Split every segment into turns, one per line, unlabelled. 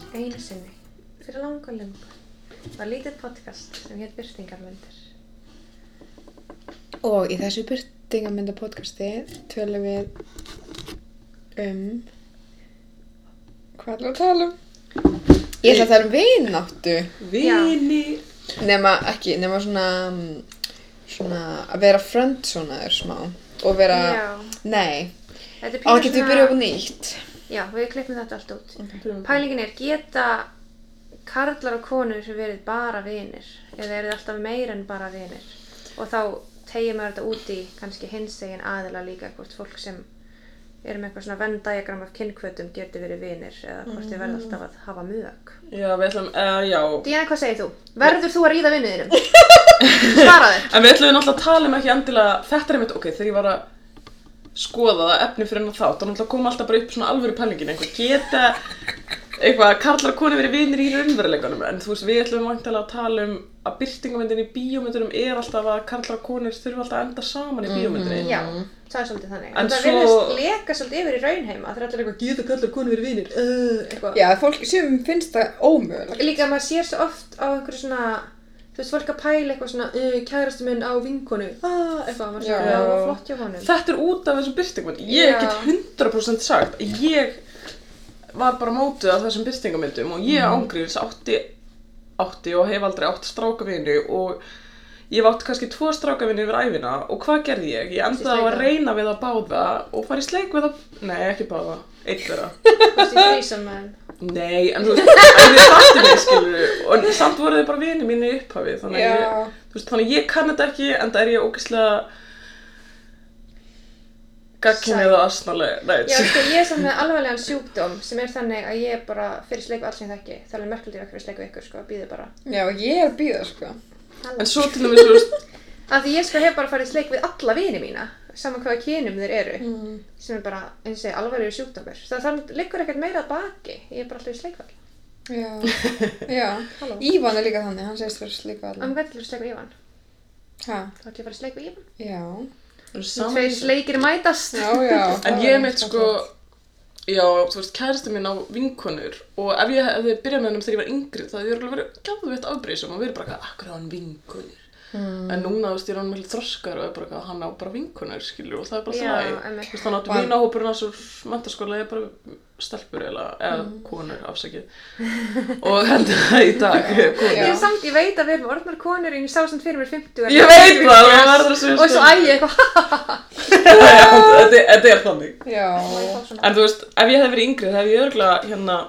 sinni, fyrir langa löngu, var lítið podcast sem hétt Byrtingarmyndir.
Og í þessu byrtingamönda podcasti tölum við um hvað er að tala um? Ég ætla að tala um vináttu
Vini
nema ekki, nema svona mm, svona að vera friendzonaður smá og vera, nei,
Þetta er
á það getum við byrjað upp á nýtt
Já, við klippum þetta allt út. Pælingin er, geta karlar og konur verið bara vinir? Eða eru þið alltaf meir en bara vinir? Og þá tegir maður þetta út í kannski hinsegin aðila líka, hvort fólk sem er með eitthvað svona venn-diagram af kynkvötum getur verið vinir eða hvort þið
Mm.
verða alltaf að hafa mjög.
Já, við ætlum, uh, já
Díana, hvað segir þú? Verður þú að ríða vinnuðinum? Svaraði.
En við ætlum náttúrulega að tala um ekki endilega Þetta er einmitt, ok, þegar ég var að skoða það efni fyrir hennar þátt þá náttúrulega kom alltaf bara upp svona alvöru pælingin einhver geta eitthvað karlar og koni verið vinir í raunveruleikanum en þú veist, við ætlum vantilega að tala um að byrtingamöndin í bíómyndunum er alltaf að karlar og konur þurfa alltaf að enda saman í bíómyndinni
Já, það er svolítið þannig.
Mm. En
En það
svo-
virðist leka svolítið yfir í raunheima. Það er allir eitthvað, geta kallar konu verið vinir, uh, eitthvað.
Já, fólk sem finnst það ómögulegt
Líka maður sér svo oft á einhverju svona, þú veist, fólk að pæla eitthvað svona, uh, kærastu minn á vinkonu, ah, eitthvað, maður
Já.
svona, já, já flott hjá honum.
Þetta er út af þessum byrtingum. Ég
Já.
get 100% sagt að ég var bara mótuð af þessum byrtingamyndum og ég
Mhm.
ángriðis átti, átti og hef aldrei átt strákavinu og ég hef átt kannski tvo strákavinu yfir æfina og hvað gerði ég? Ég endaði á að
sleika.
reyna við að báða og fara í sleik við að... Nei, ekki báða. Eitt þeirra.
Þú veist, ég frýsa með
Nei, en þú veist, en við fattum mig, skilur og samt voru þið bara vini mínu í upphafi þannig að
Já.
ég, þú veist, þannig að ég kann þetta ekki en það er ég ógeðslega gagkinnið og asnaleg,
Já,
nei,
sko, ég er samt með alvarlegan sjúkdóm sem er þannig að ég bara fyrir sleiku alls sem ég þekki. Það er alveg merkildýr okkur að sleiku ykkur, sko, býði bara.
Já, ég er að býða, sko
en svo til dæmis, þú veist,
Af því ég sko hef bara farið í sleik við alla vini mína, saman hvaða kynum þeir eru,
Mm.
sem er bara, eins og ég, alvarlegur sjúkdómur. Það, það liggur ekkert meira að baki, ég er bara alltaf í sleikvall.
Já, já
Halló.
Ívan er líka þannig, hann segist fyrir slíka
En
allan
hvað ætlum við sleik við Ívan?
Hæ,
Þá ætlum ég að fara að sleik við Ívan.
já
þú
Saman
veist, saman
Tveir sleikir mætast.
Já, já
En
það
ég
var
mitt
eitthvað
sko, já, þú veist, kærasti mín á vinkonur og ef ég hefði byrjað með hennum þegar ég var yngri þá hefði ég alveg verið gæðvett afbrýðisum og verið bara eitthvað, akkur á hann vinkonur. En núna, þú veist, ég er hann með þroskar og er bara eitthvað, hann á bara vinkonur, skilur, og það er bara
Já,
það.
einmitt.
Þú veist, þannig að
Bara-
vinahópurinn á svo mentaskóla er bara stelpur eða, eða konur, afsakið. og hendur það í dag, konur.
Ég er
Já.
samt, ég veit að við erum orðnar konur en ég sá samt fyrir mér 50 en-
Ég veit það, það var það sem
Og svo æg ég eitthvað
Já, þetta þetta er þannig.
Já,
En þú veist, ef ég hefði verið yngri, það hefði ég örgulega, hérna,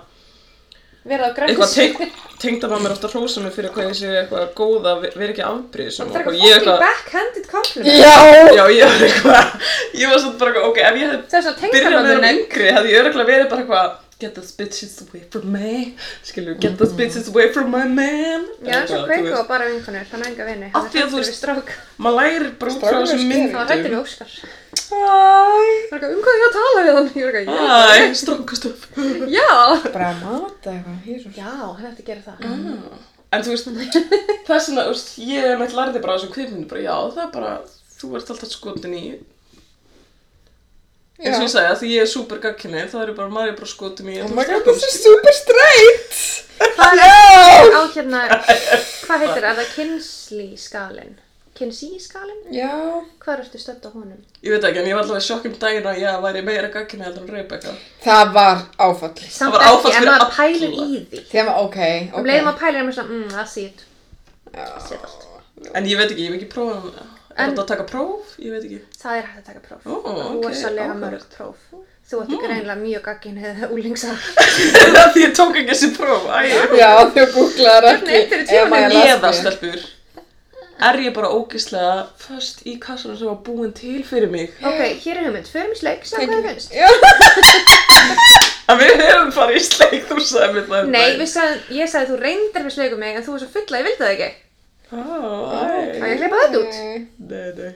Verða á græns
eitthvað tengt, tengd að maður mér ofta að hrósa mig fyrir hvað ég sé eitthvað góða, ve- vera ekki afbrýðisum
Það er eitthvað
ég er
fucking backhanded compliment
já.
já ég var eitthvað, ég var svona bara eitthvað, ok, ef ég
Það
hefði
er svona
byrjað með þeirra
tengdamömmun
yngri, hefði ég örgulega verið bara eitthvað Get those bitches away from me, skilju, get those bitches away from my man
Mm. Já, eins og Kveiku og bara vinkunur, hann á enga vini Hann
Af
er
því að
hrættur
þú-
við strák
Maður lærir bara út frá
Strákur er
þessum
scary.
Hann var hrættur
myndum
við Óskar Það
Æ,
er eitthvað, um hvað er ég að tala við hann? Ég er eitthvað,
æ, strókastöf
já Mm.
Bara að mata eitthvað, hér og
Já, hann ætti að gera það
En þú veist, þess vegna, þú veist, ég meitt lærði bara á þessum kvikmyndu, bara já, það er bara, þú ert alltaf skotin í, eins og ég
Já,
segja, því ég er super gagkinni, það eru bara, maður er bara skotin í,
oh
öllum
my god,
stelpum,
þetta er super straight
Það er á hérna, hvað heitir, er það kynsli skalinn? Kynsi skalinn?
Já,
Hvað ertu stödd á honum?
sko. Ég veit ekki, en ég var alltaf í sjokk um daginn að ég væri meira gagkinni heldur en Rebecca.
það var áfall
Samt
var áfall
ekki, en
fyrir
maður pælir
alla.
í því
Þegar maður, ok, ok
Um leiðum að pæla er maður svona, mm, það sé ég
Já,
sé allt.
En ég veit ekki, ég hef ekki prófað hana. Er
En-
þetta að taka próf? Ég veit ekki.
Það er hægt að taka próf.
Ó, ok,
Rosalega
áhugavert.
mörg próf. Þú ætti greinlega mjög gaggin eða úlingsar.
Það því ég tók ekki þessi próf, æg.
já þú googlaðar ekki
Hvernig fyrir tímanum?
ef maður er
Eða
lesbíu.
stelpur, er ég bara ógislega föst í kassanum sem var búin til fyrir mig?
Ok, hér er hugmynd. Förum í sleik, sem hvað þið finnst.
Já,
En við höfum farið í sleik, þú sagði mér það. um
Nei,
daginn.
við sagðum, ég sagði þú reyndar með sleikum mig en þú var svo full að ég vildi það ekki. Á
Á, æg.
ég að hleypa þetta út?
Nei, nei.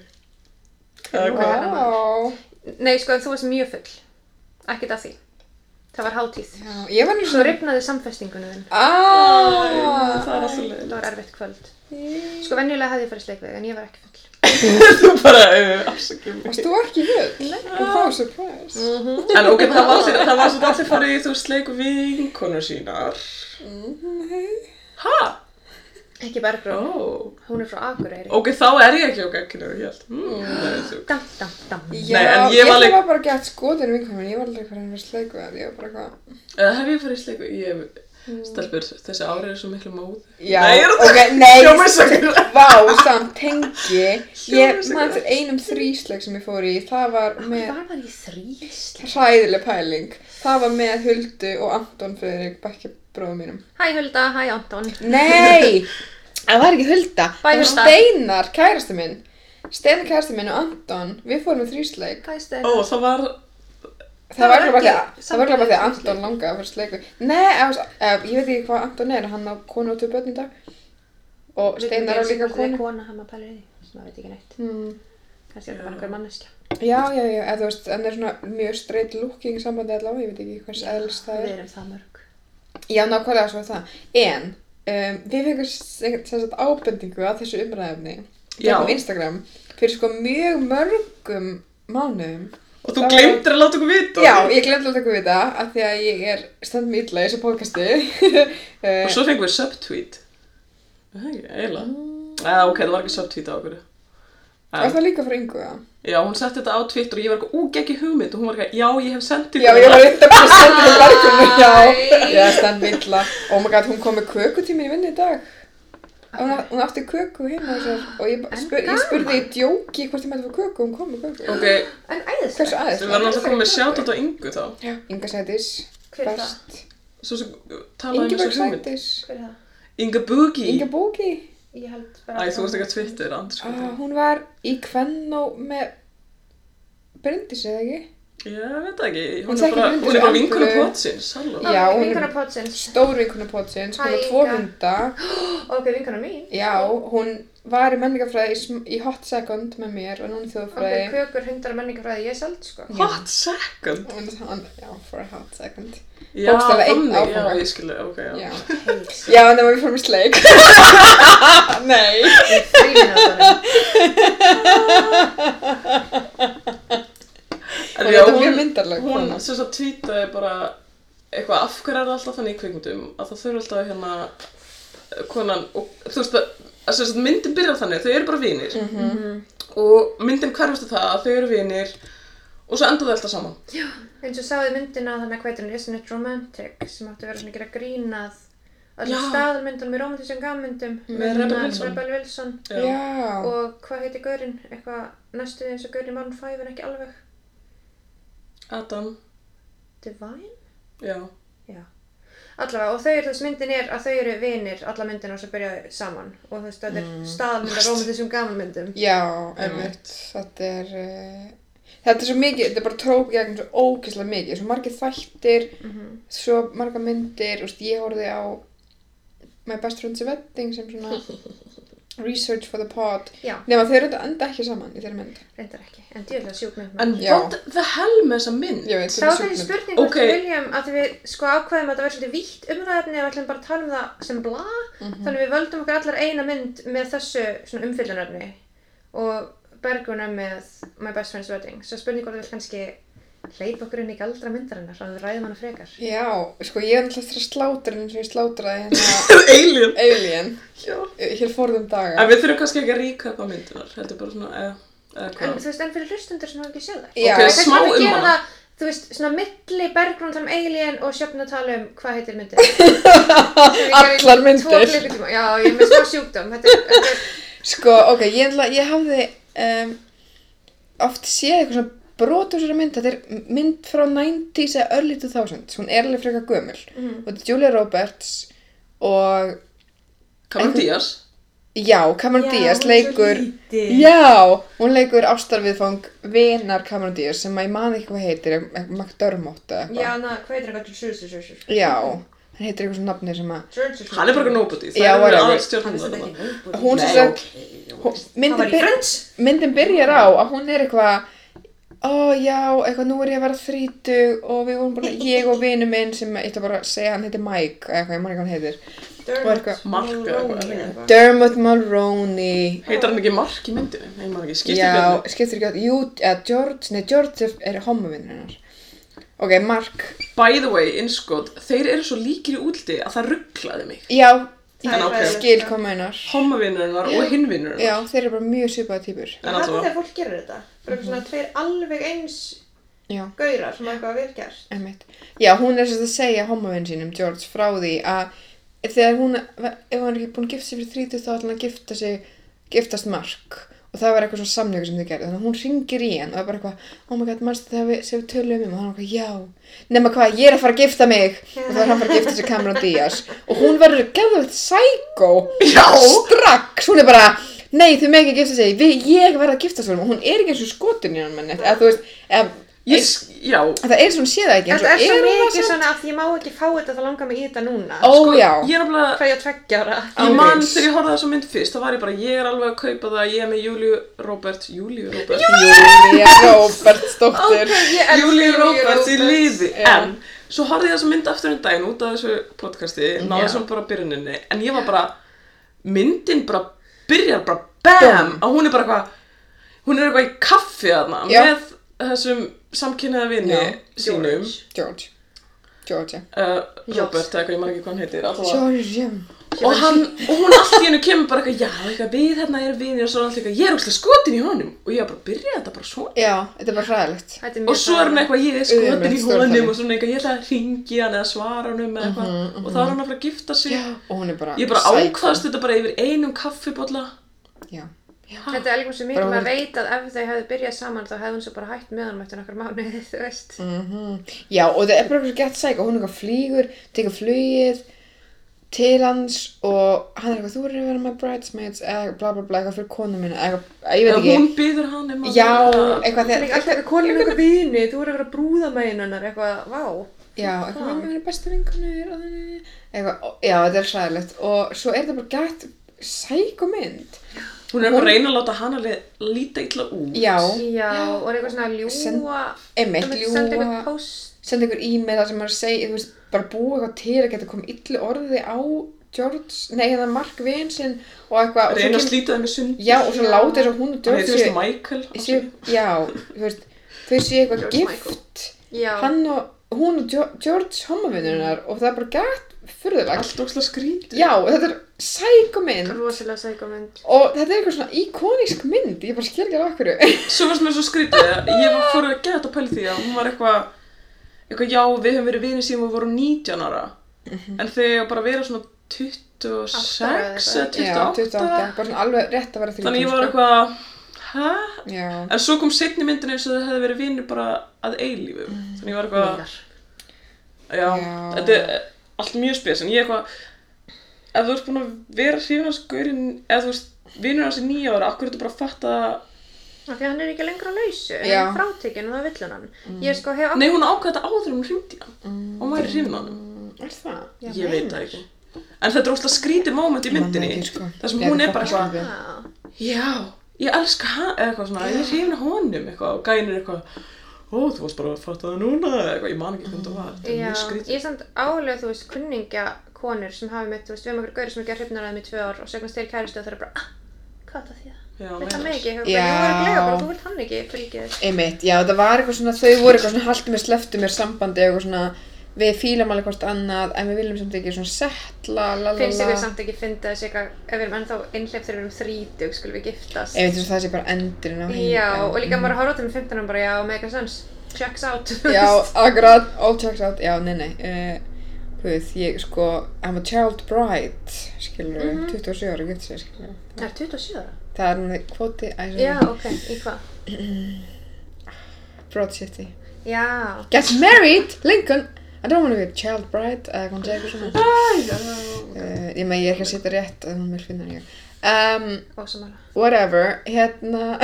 Vá.
Ok.
Vá
Nei, sko, en þú varst mjög full. Ekkert að því. það var hátíð
Já, ég var nýtt
svo
svona...
rifnaði samfestingunum þinn
Aaaa!
það er alltaf
það
leið
var erfitt kvöld sko venjulega hefði ég farið sleikveg en ég var ekki full
þú bara uh, afsakið mig
Varst þú ekki full? Nei. Og þá surprise.
Mm.
en ok, það var sér, það var sér allir farið í þú sleik vinkonu sínar
Mm-hmm,
ha?
ekki Bergró,
ó
hún er frá Akureyri
ok, þá er ég ekki á gagkinu ég held
Hmm.
mm, það er sjúkt.
dam, dam, dam
Já,
Nei, en
ég,
ég var
var
líka-
bara ekki að skoðinu vinkonum en ég var aldrei farin að vera sleiku að ég var bara eitthvað
eða hef ég farið í sleik við ég
Hmm.
Stelpur, þessi ári er svo miklu móð
Já,
Nei, er það-
ok, nei,
Sjómasakur.
vá, samt tengi Ég
Sjómasakur.
maður til einum þrísleik um sem ég fór í það var með
Hvað var ég þrýst?
hræðileg pæling það var með Huldu og Anton Friðrik bekkjabróðum mínum
Hæ Hulda, hæ Anton
Nei, það var ekki Hulda
Bæ,
það var
Hulda.
Steinar, kærasti minn Steinar kærasti minn og Anton við fórum í þrísleik
Hvað er stæðin?
Ó, það var
það var ekki
ekki-
það var ekki bara því að
samt-
Anton langaði að fara sleiku Nei, ég, ég veit ekki hvað Anton er hann á konu og tvö börn í dag og Steinar á líka
Það er
konu
kona, hann maður pælir í því Svona veit ekki neitt
hmm.
Kannski er það bara einhver manneskja
Já, já, já, eða þú veist, hann er svona mjög straight looking í sambandi allavega, ég veit ekki hvers eðlis það er
Við erum það mörg
Já, nákvæmlega svo er það. En um, við fengum sem sem sagt ábendingu að þessu umræðefni
Já.
gegnum Instagram fyrir sko mjög mörgum mánuðum.
Og þú
Það var-
glemtir að láta okkur vita
Já, ég glemdi alltaf við það af því að ég er stendum illa í þessu podcasti.
Og
uh,
svo fengum við subtweet Er Það ekki, eiginlega Eða ok, það var ekki subtweet á okkur
Hmm. var það líka frá yngu það?
Já, hún setti þetta á Twitter og ég var eitthvað úgeggi hugmynd og hún var eitthvað, já, ég hef sendið
Já, ég var reynda bara að stendum í verkefni, já. Já, stendum illa. Oh my god, hún kom með kökutímin í vinnu í dag. Hún, hún átti köku heima og sér og ég, bara-
En
spur, ég
gaman.
spurði í djóki hvort ég mætti fá köku og hún kom með köku.
Ok,
En
Hversu
æðislega
aðeins?
við verðum alltaf að koma með sjátt á Ingu þá
Inga Sætis.
Hver er það?
það?
Svo sem uh, talaði um
Ingeborg
þessu hugmynd
Sætis.
Hver er það?
Inga Boogie
Inga Bóki.
Ég held
Æ,
bara
þú veist ekki að Twitter, andri sko
Ah, hún var í Kvennó með Bryndis eða ekki?
Ég veit það ekki,
Hún
hún
þekkir
er bara,
Lindu
hún er bara
Andru.
vinkonu potsins, halló
Já, hún er-
Vinkona Potsins
Stór vinkona potsins, hún
Hæ,
var tvo
Inga.
hunda.
Ok, vinkona mín
Já, hún var í menningafræði í, sm- í hot second með mér og núna í
Ok,
þjóðfræði.
kökur, hundar og menningafræði Ég seld sko
Hot second
Hún- hann- Já, for a hot second.
Já,
Bókstaflega einn
þannig, já,
áfanga.
ég skilja, ok, já
Já,
Heils
já nema við fórum í sleik. Nei.
Þrýminútanum
En
Hún
já,
er þetta
hún,
mjög myndarleg
hún
kona.
sem sagt tweetaði bara eitthvað af hverju er það alltaf þannig í kvikmyndum að það þurfa alltaf hérna eh, konan og þú veist að, að sem sagt myndin byrjar þannig þau eru bara vinir
Mhm.
og myndin hverfast er það að þau eru vinir og svo endur þau alltaf saman
eins og sáðu myndina þannig hvað heitir hún Isn't it romantic sem átti að vera svona að gera grínað
Já.
öllum staðalmyndunum í romantísum gammyndum
Með Rebel Wilson.
Rebel Wilson.
Já.
og hvað heitir gaurinn eitthvað næstuði eins og gaurinn í Marlon 5 en ekki alveg
Adam,
Divine?
já
Já allavega og þau eru þess myndin er að þau eru vinir alla myndina og svo byrjaðu saman og þú veist þetta er mm. staðalmynd af romantísum gammyndum
Já, einmitt, þetta er, uh, þetta er svo mikið, þetta er bara trók gegn svo ógeðslega mikið, svo margir þættir,
Mhm.
svo margar myndir, úst, ég horfði á My Best Friend's Wedding sem svona research for the pod,
Já.
nema þeir eru þetta enda ekki saman í þeirri mynd.
reyndar ekki en djúðlega sjúk mynd
en
Já.
what the hell með þessa mynd
Ég veit,
Þá er þessi
sjúkmynd.
spurning hvort
Ok.
við viljum að því við sko ákveðum að þetta verður svolítið vítt umræðefni og ætlum bara að tala um það sem bla
Mhm.
þannig við völdum okkur allar eina mynd með þessu svona umfyllunarefni og Berguna með My Best Friend's Wedding svo spurning hvort við viljum kannski hleypa okkur inn í galdra myndarinnar og við ræðum hana frekar
Já, sko ég er náttúrulega eftir að slátra henni eins og ég slátraði hérna
Alien
Alien,
já.
eh, hér forðum daga.
en við þurfum kannski ekki að ríka upp á myndunar heldur bara svona, eða, eða
en
hvað
þú veist, en fyrir hlustundur sem hafa ekki séð það
Já.
Ok,
Þess
smá
vegna við
um
gerum
hana
það, þú veist, svona milli Bergrún tala um Alien og Sjöfn að tala um hvað heitir myndin Sem við gerum í
Allar
tvo
myndir.
klukkutíma. Já, ég er með smá sjúkdóm Þetta er, þetta er
Sko, ok, ég, ætla- ég hafði um, oft séð eitthvað svona brot úr þessari mynd, þetta er mynd frá 90s eða early 2000s, hún er alveg frekar gömul og þetta er Julia Roberts og
Cameron Diaz
já, Cameron Diaz leikur
Já,
Já, hún leikur ástarviðfang vinar Cameron Diaz sem að ég man ekki hvað heitir, eitthvað McDermott eða eitthvað.
na, hvað heitir hann? Sjössu, sjössu, sjössu.
Já, hann heitir eitthvað svona nafni sem að
Sjössu,
hann er bara eitthvað nobody það
Já,
er
whatever.
alveg stjórnum þarna
Hún sem
Nei,
sagt, hún- myndin byr- myndin byrjar á að hún er eitthvað ó já, eitthvað nú er ég að vera þrítug og við vorum bara, ég og vinu minn sem ég ætla bara að segja hann heitir Mike eða eitthvað, ég man ekki hvað hann heitir Og eitthvað-
Mark eða eitthvað, eða
eitthvað
Dermot Mulroney
Heitar hann ekki Mark í myndinu? Nei, maður ekki, skiptir
Já,
björnum.
skiptir ekki að, jú, eða George, nei, George er- er homovinn hennar Ok, Mark,
By the way, innskot, þeir eru svo líkir í útliti að það rugglaði mig.
já,
En ok.
ég skil koma hennar
Hommavinnurinnar og hinvinnurinnar.
Já, þeir eru bara mjög svipaða típur
Ég
En
hata
allavega.
þegar fólk gerir þetta. Bara svona
Mm.
tveir alveg eins
Já,
gaurar sem hafa eitthvað vel gert.
emmitt Já, hún er sérst að segja homovinn sínum, George, frá því að þegar hún, ef hann er ekki búin að gifta sig fyrir 30 þá ætla hann að gifta sig, giftast Mark og það var eitthvað svona samlöku sem þið gerði þannig að hún ringir í hann og er bara eitthvað oh my god, manstu þegar við, sem við tölum um og hann er eitthvað, já nema hvað, ég er að fara að gifta mig og þá er hann bara að gifta sig Cameron Diaz og hún verður geðvægt psycho
Já!
strax, hún er bara nei þau megi ekki gifta sig, við, ég verða að gifta sig og hún er ekki eins og skotin í hann menn eða þú veist, eða,
Ég, sk- já,
það er eins og hún sé það
En
ekki eins
það
og
er svo
er hún
mikið
það samt
svona að ég má ekki fá þetta þá langar mig í þetta núna.
ó já,
Sko, ég er náttúrulega,
Hvað ég á tveggja ára.
ég man
ángríns.
þegar ég horfði á þessa mynd fyrst, þá var ég bara, ég er alveg að kaupa það, ég er með Júliu Robert, Júliu Robert,
Júlía Róbertsdóttir
Ég elska
Júliu
Júlíu
Roberts í liði,
já.
en svo horfði ég þessa mynd aftur um daginn út af þessu podcasti, náðu
Já.
svona bara byrjuninni, en ég var bara, myndin bara byrjar bara BAM,
Búmm.
að hún er bara eitthvað, hún er eitthvað í kaffi þarna,
Já.
með þessum samkynniða vini
Já.
sínum,
George Georgia
uh, Robert, eða eitthvað, ég maður ekki hvað hann heitir, allavega.
Georgia
og, hann, og hún allt í hennu kemur bara eitthvað, já, eitthvað, við hérna erum vinir og svo er alltaf eitthvað, ég er óslega skotin í honum og ég var bara að byrja þetta bara svona
já, þetta er bara hræðilegt
Þetta er mjög
og svo er hann eitthvað, ég er skotin í
Ömurlegt
honum
stórtali.
og svona eitthvað, ég ætla að ringi hann eða svara honum eða eitthvað og þá er hann að fara að gifta sig
Mhm, já, og hún er bara
ég bara
psycho.
ákvaðast þetta bara yfir einum kaffibólla
já,
Þetta er líka svo mikið,
Bara
maður veit að ef þau hefðu byrjað saman þá hefðu hún svo bara hætt með hann eftir nokkar mánuði, þú veist.
Mm.
Mhm. já, og það er bara eitthvað gett sæk og hún er eitthvað flýgur, tekur flugið til hans og hann er eitthvað, þú verður að vera my bridesmaids eða bla bla bla, eitthvað fyrir konu mína eða eitthvað, ég veit
eða
ekki
hún byður hann um að
Já,
vera-
eitthvað
Það er ekki alltaf eitthvað konum eitthvað vini, þú voru að vera brúðamænunar, eitthvað, vá.
Já, eitthvað með mér bestu vinkunir og þannig eitthvað, ó, já, þetta er sæðilegt og svo er þetta bara gætt sækumynd
hún er bara að reyna að láta hann að líta illa út
Já,
Já, og er eitthvað svona að
Send-
ljúa,
einmitt,
senda
ljúga.
eitthvað post.
senda ykkur e-mail þar sem maður segir, þú veist, bara búa eitthvað til að geta komið illu orði á George, nei, hérna Mark Vinsinn og eitthvað, og svo
reyna að
kem-
slíta þeim í sund
Já, og svo láta þess að hún og
hann heitir
George
fyrst
séu-
Michael
séu, já, þú veist, þau séu eitthvað
George Michael.
gift
Já,
hann og, hún og Jo- George homavinnunar og það er bara gætt furðulegt,
allt óslega skrítið
já, þetta er sækumynd
rosalega sækomund.
Og þetta er eitthvað svona íkónísk mynd, ég bara skil ekki alveg okkur.
Svo fannst mér svo skrítið að ég var fór að geta að pæla í því að hún var eitthvað eitthvað já, við höfum verið vinið síðan við vorum 19 ára en þegar bara vera svona 26
Átta ára eða
eða 28
28, bara svona alveg rétt að vera 30.
þannig ég var eitthvað hæ?
Já,
En svo kom setni myndin eins og það hefði verið vinið bara að eilífu þannig ég var eitthvað já,
Já.
þetta er allt mjög spes en ég eitthvað ef þú ert búin að vera hrifin hans gaurinn ef þú veist, vinur hans er nýja ára akkur ertu bara að fatta
Af því að hann er ekki lengra á lausu,
Já. Mm.
hann er frátekinn og það vill hann hann. Ég sko hef
nei, hún ákvað þetta áður en hún hringdi í hann og maður er hrifin á hann
er það?
Já,
ég veit það ekki en þetta er óslega skrítið moment í myndinni
ekki, sko.
þar sem
Já,
hún
það
er bara
er
eitthvað
skrítið.
Já.
já, ég elska hann eða eitthvað svona, ég hrifna honum eitthvað og gænir eitthvað ó, þú varst bara að fatta það núna eða eitthvað, ég man ekki hvernig það var þetta er
Já,
mjög
ég
skrítið
er samt álega, þú veist, kunningja konur sem hafi mitt, þú veist, við hefum okkur gauri sem er gerð hrifnaræðum í tvö ár og segnast þeir kæristu og það er bara, ah, hvað það því að?
Já,
Vilt hann
meinar.
mig ekki? Ég
Já.
hefur bara, ég var að glega bara, þú vilt hann ekki, fylgið þér.
Einmitt, já, það var eitthvað svona, þau voru eitthvað svona haltu mér, sleftu mér sambandi, eitthvað svona, við fílam alveg hvort annað, en við viljum samt ekki svona settla, la la la.
Finnst ykkur samt ekki fyndið þessi eitthvað, ef við erum ennþá innhlepp þegar við erum þrítug, skulum við giftast.
Einmitt, þess að það sé bara endurinn á Mm. heim.
já, og líka maður horfður til með 15 árum bara, já, make a sense, checks out, þú
Já,
veist.
akkurat, all checks out, já, nei, nei. Uh, Guð, ég sko, I'm a child bride, skilur,
Mhm.
27 ára, getur sér, skilur.
Það er 27 ára?
Það er hann kvoti, æ, sorry.
Já, ok, í hvað?
Broad City
Já,
Get married, Lincoln I don't want to be a child bride eða hvað hún segir eitthvað svona uh, ég með ég er ekki að setja rétt að hún vil finna hann ég um,
ósamála.
whatever hérna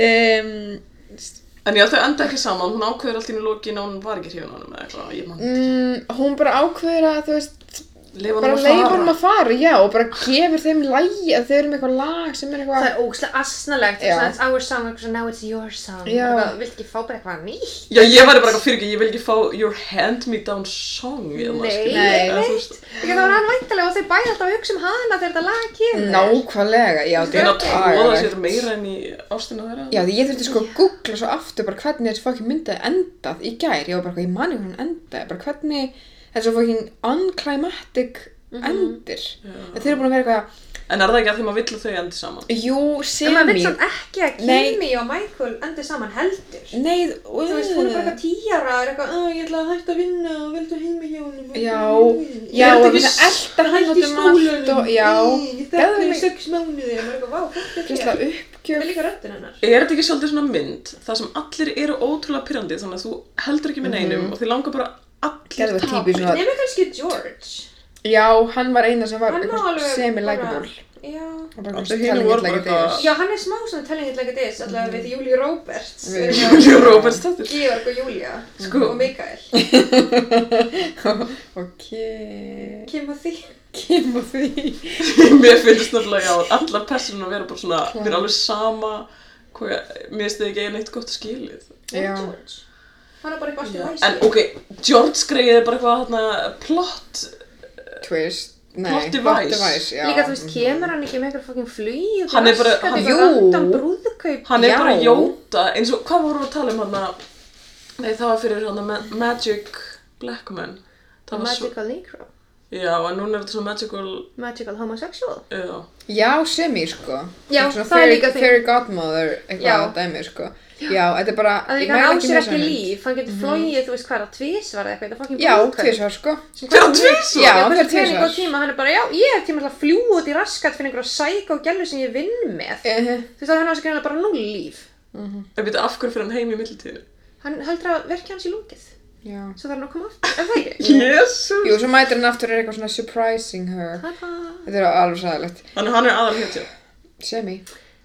um, s-
en já, þau enda ekki saman, hún ákveður allt í einu lokin og hún var ekki hrifin á hann eða eitthvað, ég man
mm, hún bara ákveður að þú veist
leifa
bara
honum að
leifa
fara
honum að fara, já, og bara gefur þeim lægi að þau eru með eitthvað lag sem er eitthvað
Það er ógæslega asnalegt,
Já.
svona it's our song, eitthvað svona now it's your song.
Já.
Eitthvað, Viltu ekki fá bara eitthvað nýtt?
Já, ég væri bara eitthvað fyrir ekki, ég vil ekki fá your hand me down song eða,
Nei,
skilur,
nei.
eða, þú veist,
Þegar það var hann væntalega og þau bæði alltaf að hugsa um hana þegar þetta lag kemur.
nákvæmlega, já,
Það er að tróða
agalegt.
sér meira enn í ástina þeirra
Já, því ég þurfti sko að googla svo aftur bara hvernig þessi fokkin myndið endað í gær. Ég var bara, eitthvað, ég man ekki hvernig hún endaði, bara hvernig þessi fokkin unclimatic
Mhm.
endir. En þeir eru búin að vera eitthvað,
En er það ekki að því maður vill að þau endi saman?
jú,
En maður vil
semi,
samt ekki að
Nei.
Kimi og Michael endi saman heldur.
nei,
Þú veist, hún er bara eitthvað tíjara og er eitthvað, "Ugh, ég ætla að hætta að vinna og vildu heima hjá henni.
Já,
Ég
já,
er
og
ekki
þess að elda hann út
hætti í
um allt
skólanum.
og, já,
Í, Ég þekki
geðveik.
henni í sex mánuði og maður er eitthvað, vá, fólk er
fyrst
hér.
að
Mér
uppgjöf,
líka röddinn hennar.
Er þetta ekki svolítið svona mynd þar sem allir eru ótrúlega pyrrandi þannig að þú heldur ekki með neinum og þið langar bara allir
Mhm. gerðu það típi svona,
Nefnir kannski George.
já, hann var eina sem var
Hann var
eitthvað
alveg
semi-likeable.
Já.
Og bara
Allir
eitthvað
hinir
telling
voru
it like
bara
it is.
eitthvað-
Já, hann er smá svona telling it like it is, allavega við Júli Roberts,
Mhm. Við-
við
Júli og Róbert stættir
Georg og Júlia
Sko.
og Mikael.
Ok,
Kim og því.
kemur því.
Mér finnst náttúrulega já, allar personum að vera bara svona mér er alveg sama hvað, mér finnst þið ekki einn eitt gott skilið
Og
Já.
George. Hann er bara eitthvað
Já.
alltaf
En ok, George greið er bara eitthvað þarna plott
Twist, nei,
Plot device.
já.
Líka þú veist, kemur hann ekki með eitthvað fucking flýi og
Hann er bara- hann-
Jú.
Jú.
Random brúðkaup.
Hann er
Já.
bara jóta eins og hvað vorum við að tala um hann Nei, það var fyrir hann Ma Magic Black Man Það var svo,
Magical Negro.
já, en núna er þetta svona magical
Magical Homosexual.
já.
Já, semi, sko.
Já, það er
Svona fairy-
líka þing.
Fairy godmother, eitthvað
Já.
að dæmi, sko. Já, þetta er bara...
Það er
ég
líka hann
mæli
á sér
með
ekki
þessa mynd.
líf, hann getur flóið, þú veist hvað, að tvísvara eða eitthvað, þetta er fucking
Mhm. Já,
brúðkaup.
tvisvar, sko.
Fyrir hann
Já,
tvisvar?
Já, hann
hann fer
fyrir pening og
tvisvar.
tíma, hann er bara, já, ég hef tíma til að fljúa út í raskat fyrir einhverja sæk og gælu sem ég vinn með.
Uh,
Þú veist að hann á sér greinlega bara núl líf.
Ég veit af hverju fyrir hann heim í millitíðinu.
Hann heldur að verkja hans í lungið.
já.
Svo þarf hann að koma aftur. Er það ekki?
Jésus!
Jú, svo mætir hann aftur er eitthvað svona surprising her.
Tata.
Þetta er alveg sæðilegt.
Þannig að hann er aðal hétja.
Semi.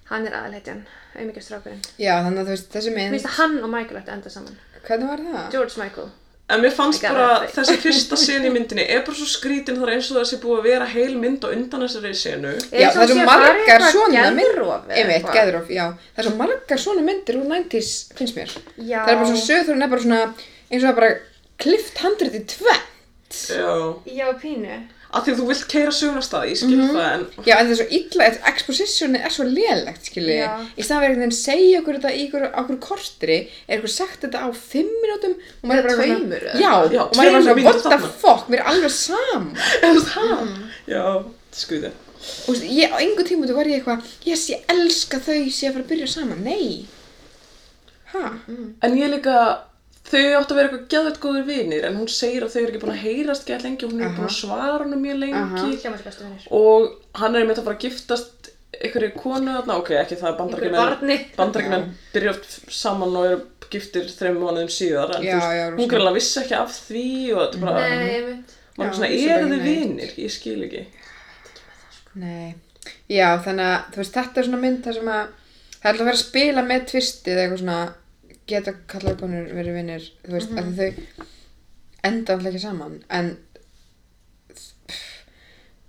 Hann er aðalhetjan. Auðmyggjastrákurinn.
Já, þannig að þú veist, þessi
Mér
mynd,
finnst að hann og Michael ættu að enda saman.
hvernig var það?
George Michael.
En mér fannst
Ekki
bara
alveg.
þessi fyrsta sen í myndinni er bara svo skrítin þar eins og það sé búið að vera heil mynd á undan þessari senu.
Já, það eru margar svona mynd-
myndir.
Einmitt, Geðrof, já. Það er svo margar svona myndir úr 90s, finnst mér.
Já.
Það er bara svona söður, hún er bara svona, eins og það er bara klift handrið í tve.
Já.
Já, pínu.
Af því að þú vilt keira söguna staði, ég
Mhm.
skil það, en
Já, en það er svo illa, þetta expositioni er svo lélegt, skilji.
Já.
Í staðan verið einhvern veginn segja okkur þetta í okkur, okkur kortri, er okkur sagt þetta á fimm mínútum og maður er bara
Eða
eitthvað
tveimur, eða?
Já,
Já,
og maður er bara
tveimur
svona,
mínútum
what the
þarna."
fuck, mér er alveg sam.
eða það. Mm. Já, skuði.
Og þú veist, ég, á engu tímutu var ég eitthvað, yes, ég elska þau sé að fara að byrja saman. Nei. Ha?
En ég líka, þau áttu að vera eitthvað gæðvægt góðir vinir, en hún segir að þau eru ekki búin að heyrast gæð lengi og hún er ekki búin að svara hann mjög lengi.
Aha.
Hljóma sér bestu vinnir.
Og hann er einmitt að fara að giftast einhverju konu þarna, ok, ekki það
Einhverju barni.
bandarækjumenn bandarækjumenn byrja oft saman og eru giftir þreim mánuðum síðar en
Já,
þú veist,
já, rosalega.
hún greinlega vissi ekki af því og þetta er bara,
Nei, ég veit.
maður
Já,
er svona,
vissi bara
eru
ekki
þið
neitt.
vinir? Ég skil ekki
Nei. Já, þannig að, þú veist, þetta er svona mynd þar sem að, það er alltaf að vera að spila með tvistið eitthvað svona, geta kallarkonur verið vinnir, þú veist, mm
Mhm.
þau enda alltaf ekki saman, en,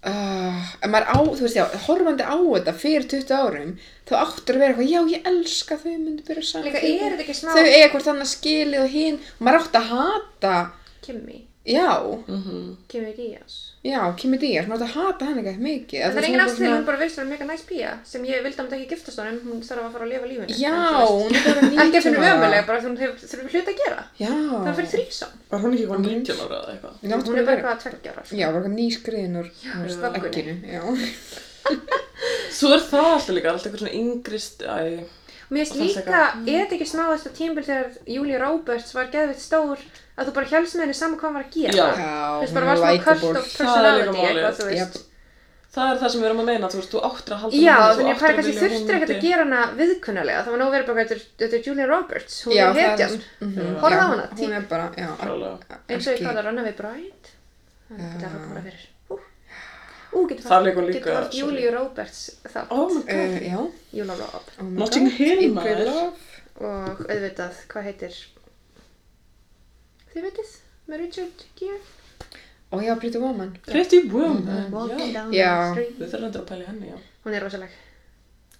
uh, en maður á, þú veist, já, horfandi á þetta fyrir 20 árum, þá áttur að vera eitthvað, já, ég elska þau myndu byrja saman.
Líka er þetta ekki smá
Þau eiga hvort annað skilið og hinn, og maður átt að hata,
Kimmy?
já,
Kimmy Díaz?
já, Kimi Díaz, maður átt að hata hann eitthvað mikið.
En það er engin ástæðið, hún bara veist að vera mega næst pía sem ég vildi að hún ekki giftast honum, hún þarf að fara að lifa lífinu.
Já, hún er bara 19 ára.
Ekki að finna ömuleg, bara þú þurfum hlut að gera.
Já.
Það er fyrir þrísam.
Var hún ekki eitthvað 19 ára eða eitthvað?
Hún
Hún er bara eitthvað að tveggja ára. sko.
Já, bara eitthvað nýskriðin úr úr
stökkunni.
egginu. Já.
Svo er það alltaf líka, alltaf eitthvað svona yngrist æ,
Og Mér finnst
Og fannst
líka, er þetta ekki smá þess að tímbil þegar Julia Roberts var geðvitt stór að þú bara hjálst með henni saman hvað hann var að gera?
Já.
Já,
Þú veist,
hún
bara
er
var smá cult of
likeable.
Það er líka
personality
málið.
eitthvað, þú veist.
Það er það sem við erum að meina, þú veist, þú áttir að halda
Já,
honum, þú
þannig að
áttir
pæra kannski
vilja
þurftir
honum
ekkert að
til-
gera hana viðkunnulega, það var nóg verið bara eitthvað, þetta er- þetta er Julia Roberts, hún
Já,
er
það
hetjan,
Mhm,
Horfðu
já,
á hana,
Hún er bara, já.
Klálega.
eins og ég
ekki-
kallar Runaway Bride, þannig að þetta er bara fyrir. Ú, Ú, getur
Það leikur
haft-
líka-
getur haft
sorry.
Julia Roberts þátt.
Oh my god,
Uh, já.
Júla Rob
Oh my
Notting
God.
Hill,
Equal
maður.
love.
og auðvitað, hvað heitir þið veitir, með Richard Gere
og Oh, já, Pretty Woman
Pretty woman,
Walking
já.
down
Já.
the street.
Við þurfum endur að pæla í henni, já.
Hún er rosaleg.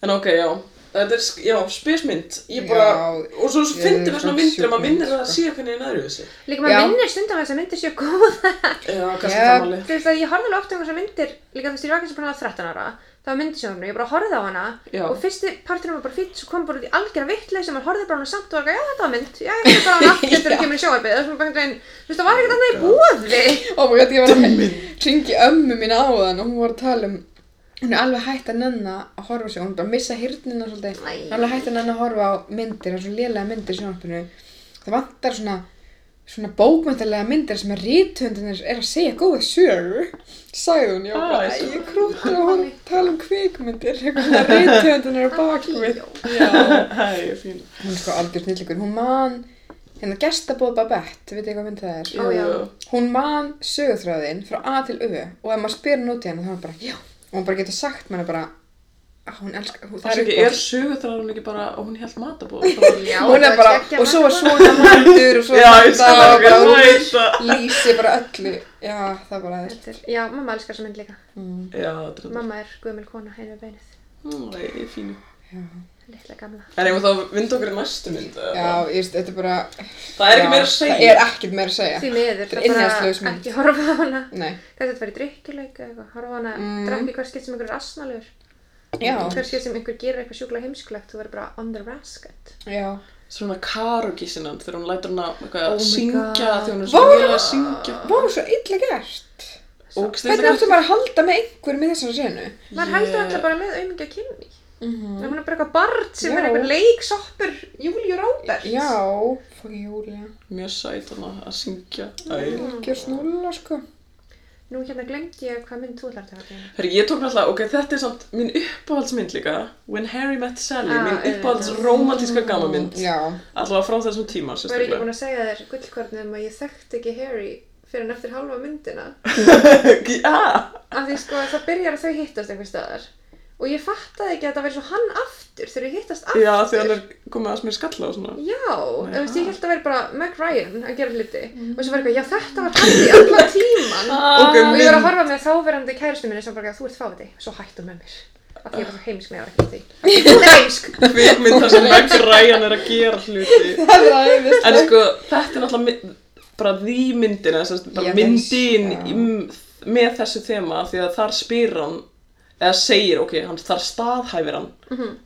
En ok, já. Þetta er, sk- já, spesmynd. Ég bara,
Já.
og svo
Ég
finnir
er
við svona myndir og
sjúkling,
maður minnir að
sko.
sé hvernig henni öðru þessi.
Líka
Já.
maður minnir stundum að þessar myndir sko. séu góða.
Já, kannski
Já.
það máli.
Þú veist að ég horfði alveg oft á þessar myndir, líka þú veist ég var ekki sem búin að 13 ára, það var myndisjónu, ég bara horfði á hana
Já.
og fyrsti parturinn var bara fýtt, svo kom bara út í algjörna vitleið sem maður horfði bara á hana samt og var eitthvað, já þetta var mynd, já ég hef bara á hana aftur þegar það kemur í sjóarbið, það var bara einhvern veginn, þú veist það var
Oh
ekkert annað í búði.
og maður gæti ekki að vera ringi ömmu mín áðan og hún var að tala um hún er alveg hægt að nenna að horfa á sig hún er bara að missa hirnina
Æ.
svolítið hún er alveg hægt að nenna að horfa á myndir það er svo lélega myndir í sjónvarpinu það vantar svona svona bókmyndalega myndir sem að rítöndinir er að segja góða sögur sagði hún, já,
Æ,
bara,
svo-
ég krútur að hún tala um kvikmyndir eitthvað rítöndinir er bakmynd
Það er fín.
hún er sko algjör snillingur, hún man hérna gestabóð Babette, veit ég hvað mynd það er
Ó, já.
hún man sögurþráðinn frá A til U og ef maður spyr hann út í hann þá er hann bara já og hún bara getur sagt manni bara að hún elskar, hún,
Það er ekki,
uppáhalds-
er sögutræðan ekki bara, og hún held matabóð.
Já,
hún er
það
bara,
geggjað
og svo var
matarboð.
svona matur og svo
Já,
var
ég skil
þetta og
alveg,
bara
ég
hún
veit það.
lýsi bara öllu já, það er Mm. bara aðeins
Þetta er- Já, mamma elskar þessa mynd líka.
Já, þetta er-
Mamma er guðmjöl kona, einu beinið,
Mm, það er fín.
litla gamla.
En ef þá vind okkur í næstu mynd. eða?
já, ég veist, þetta er bara
Það er ekki
já,
meira að segja.
það er ekkert meira að segja
Því miður,
Þetta er
það er
innihaldslaus
bara
mynd.
ekki horfa á hana.
nei,
Þetta er bara í drikkjuleik eða eitthvað, horfa á hana,
Mm.
mm. drekki hver skipt sem einhver er asnalegur.
já,
Hver skipt sem einhver gerir eitthvað sjúkla heimskulegt, þú verður bara on the rasket.
já
Svona karaoke sinan þegar hún lætur hana eitthvað
Oh
að
my
syngja
God.
þegar hún er svo vel að syngja.
voru svo illa gert
Ógeðslega
hvernig áttu maður að halda með einhverjum í þessari senu
Maður heldur alltaf bara með auðmingja kynni.
Mhm.
Það er bara eitthvað barn sem
Já.
er eitthvað leiksoppur Júliu Róbert.
já, fokkin Júlia
mjög sæt hana að syngja. Æ.
gjör snúla sko
Nú hérna glemdi ég hvað mynd þú ætlar að taka hérna.
Herri, ég tók náttúrulega, ok, þetta er samt mín uppáhaldsmynd líka, When Harry Met Sally,
Ah,
mín
auðvitað.
uppáhalds romantíska gammamynd,
já,
allavega frá þessum tíma
Maður er ekki
sérstaklega.
búin að segja þér gullkornum að ég þekkti ekki Harry fyrir en eftir halva myndina.
Já,
Af því sko það byrjar að þau hittast einhver staðar. Og ég fattaði ekki að það væri svo hann aftur þegar þau hittast aftur.
já, því hann er komið að smýr skalla og svona.
Já,
Oh
þú veist, ég
ha.
held að vera bara Meg Ryan að gera hluti
Mm.
og svo var eitthvað, já þetta var hann í allan tíman
Ah.
og Ah,
Ok,
ég var að
mynd,
horfa með þáverandi kæristu minni sem bara, þú ert fáið þig, svo hættu með mér af því ég var svo heimsk með það ekki því Þú ert heimsk,
kvikmynd þar sem Meg Ryan er að gera hluti.
það er aðeins
En sko, þetta er náttúrulega mynd- bara því myndina, þess að bara
Ég veist,
myndin
já.
í- með þessu þema, því að þar spyr hann, eða segir, ok, hann þar staðhæfir hann,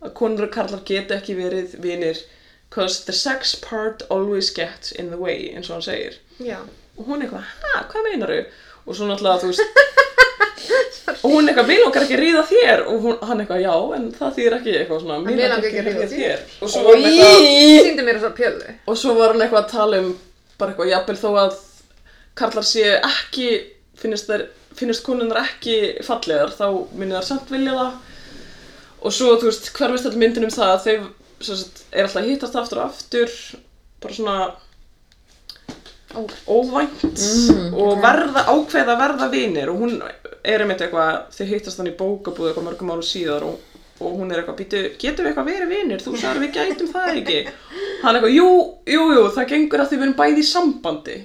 að konur og karlar geta ekki verið vinir, cause the sex part always gets in the way, eins og hann segir.
já,
Og hún er eitthvað, ha, hvað meinar þau? Og svo náttúrulega, þú veist, og hún er eitthvað, mér langar ekki að ríða þér, og hún, hann eitthvað, já, en það þýðir ekki eitthvað svona, mér langar ekki að ríða þér. Og svo var hann eitthvað,
Í.
síndi mér þessa pjölu
og svo var hann eitthvað að tala um bara eitthvað jafnvel þó að karlar séu ekki finnist, þær, finnist konunnar ekki fallegar þá minni þær samt vilja það og svo þú veist hverfist allir myndin um það að þau sem sagt, er alltaf að hittast aftur og aftur bara svona
Óvænt.
óvænt og verða ákveða að verða vinir og hún er einmitt eitthvað þau hittast hann í bókabúð eitthvað mörgum árum síðar og, og hún er eitthvað býtu getum við eitthvað verið vinir þú sagðar við gætum það ekki hann eitthvað jú, jú, jú það gengur að þið verum bæði í sambandi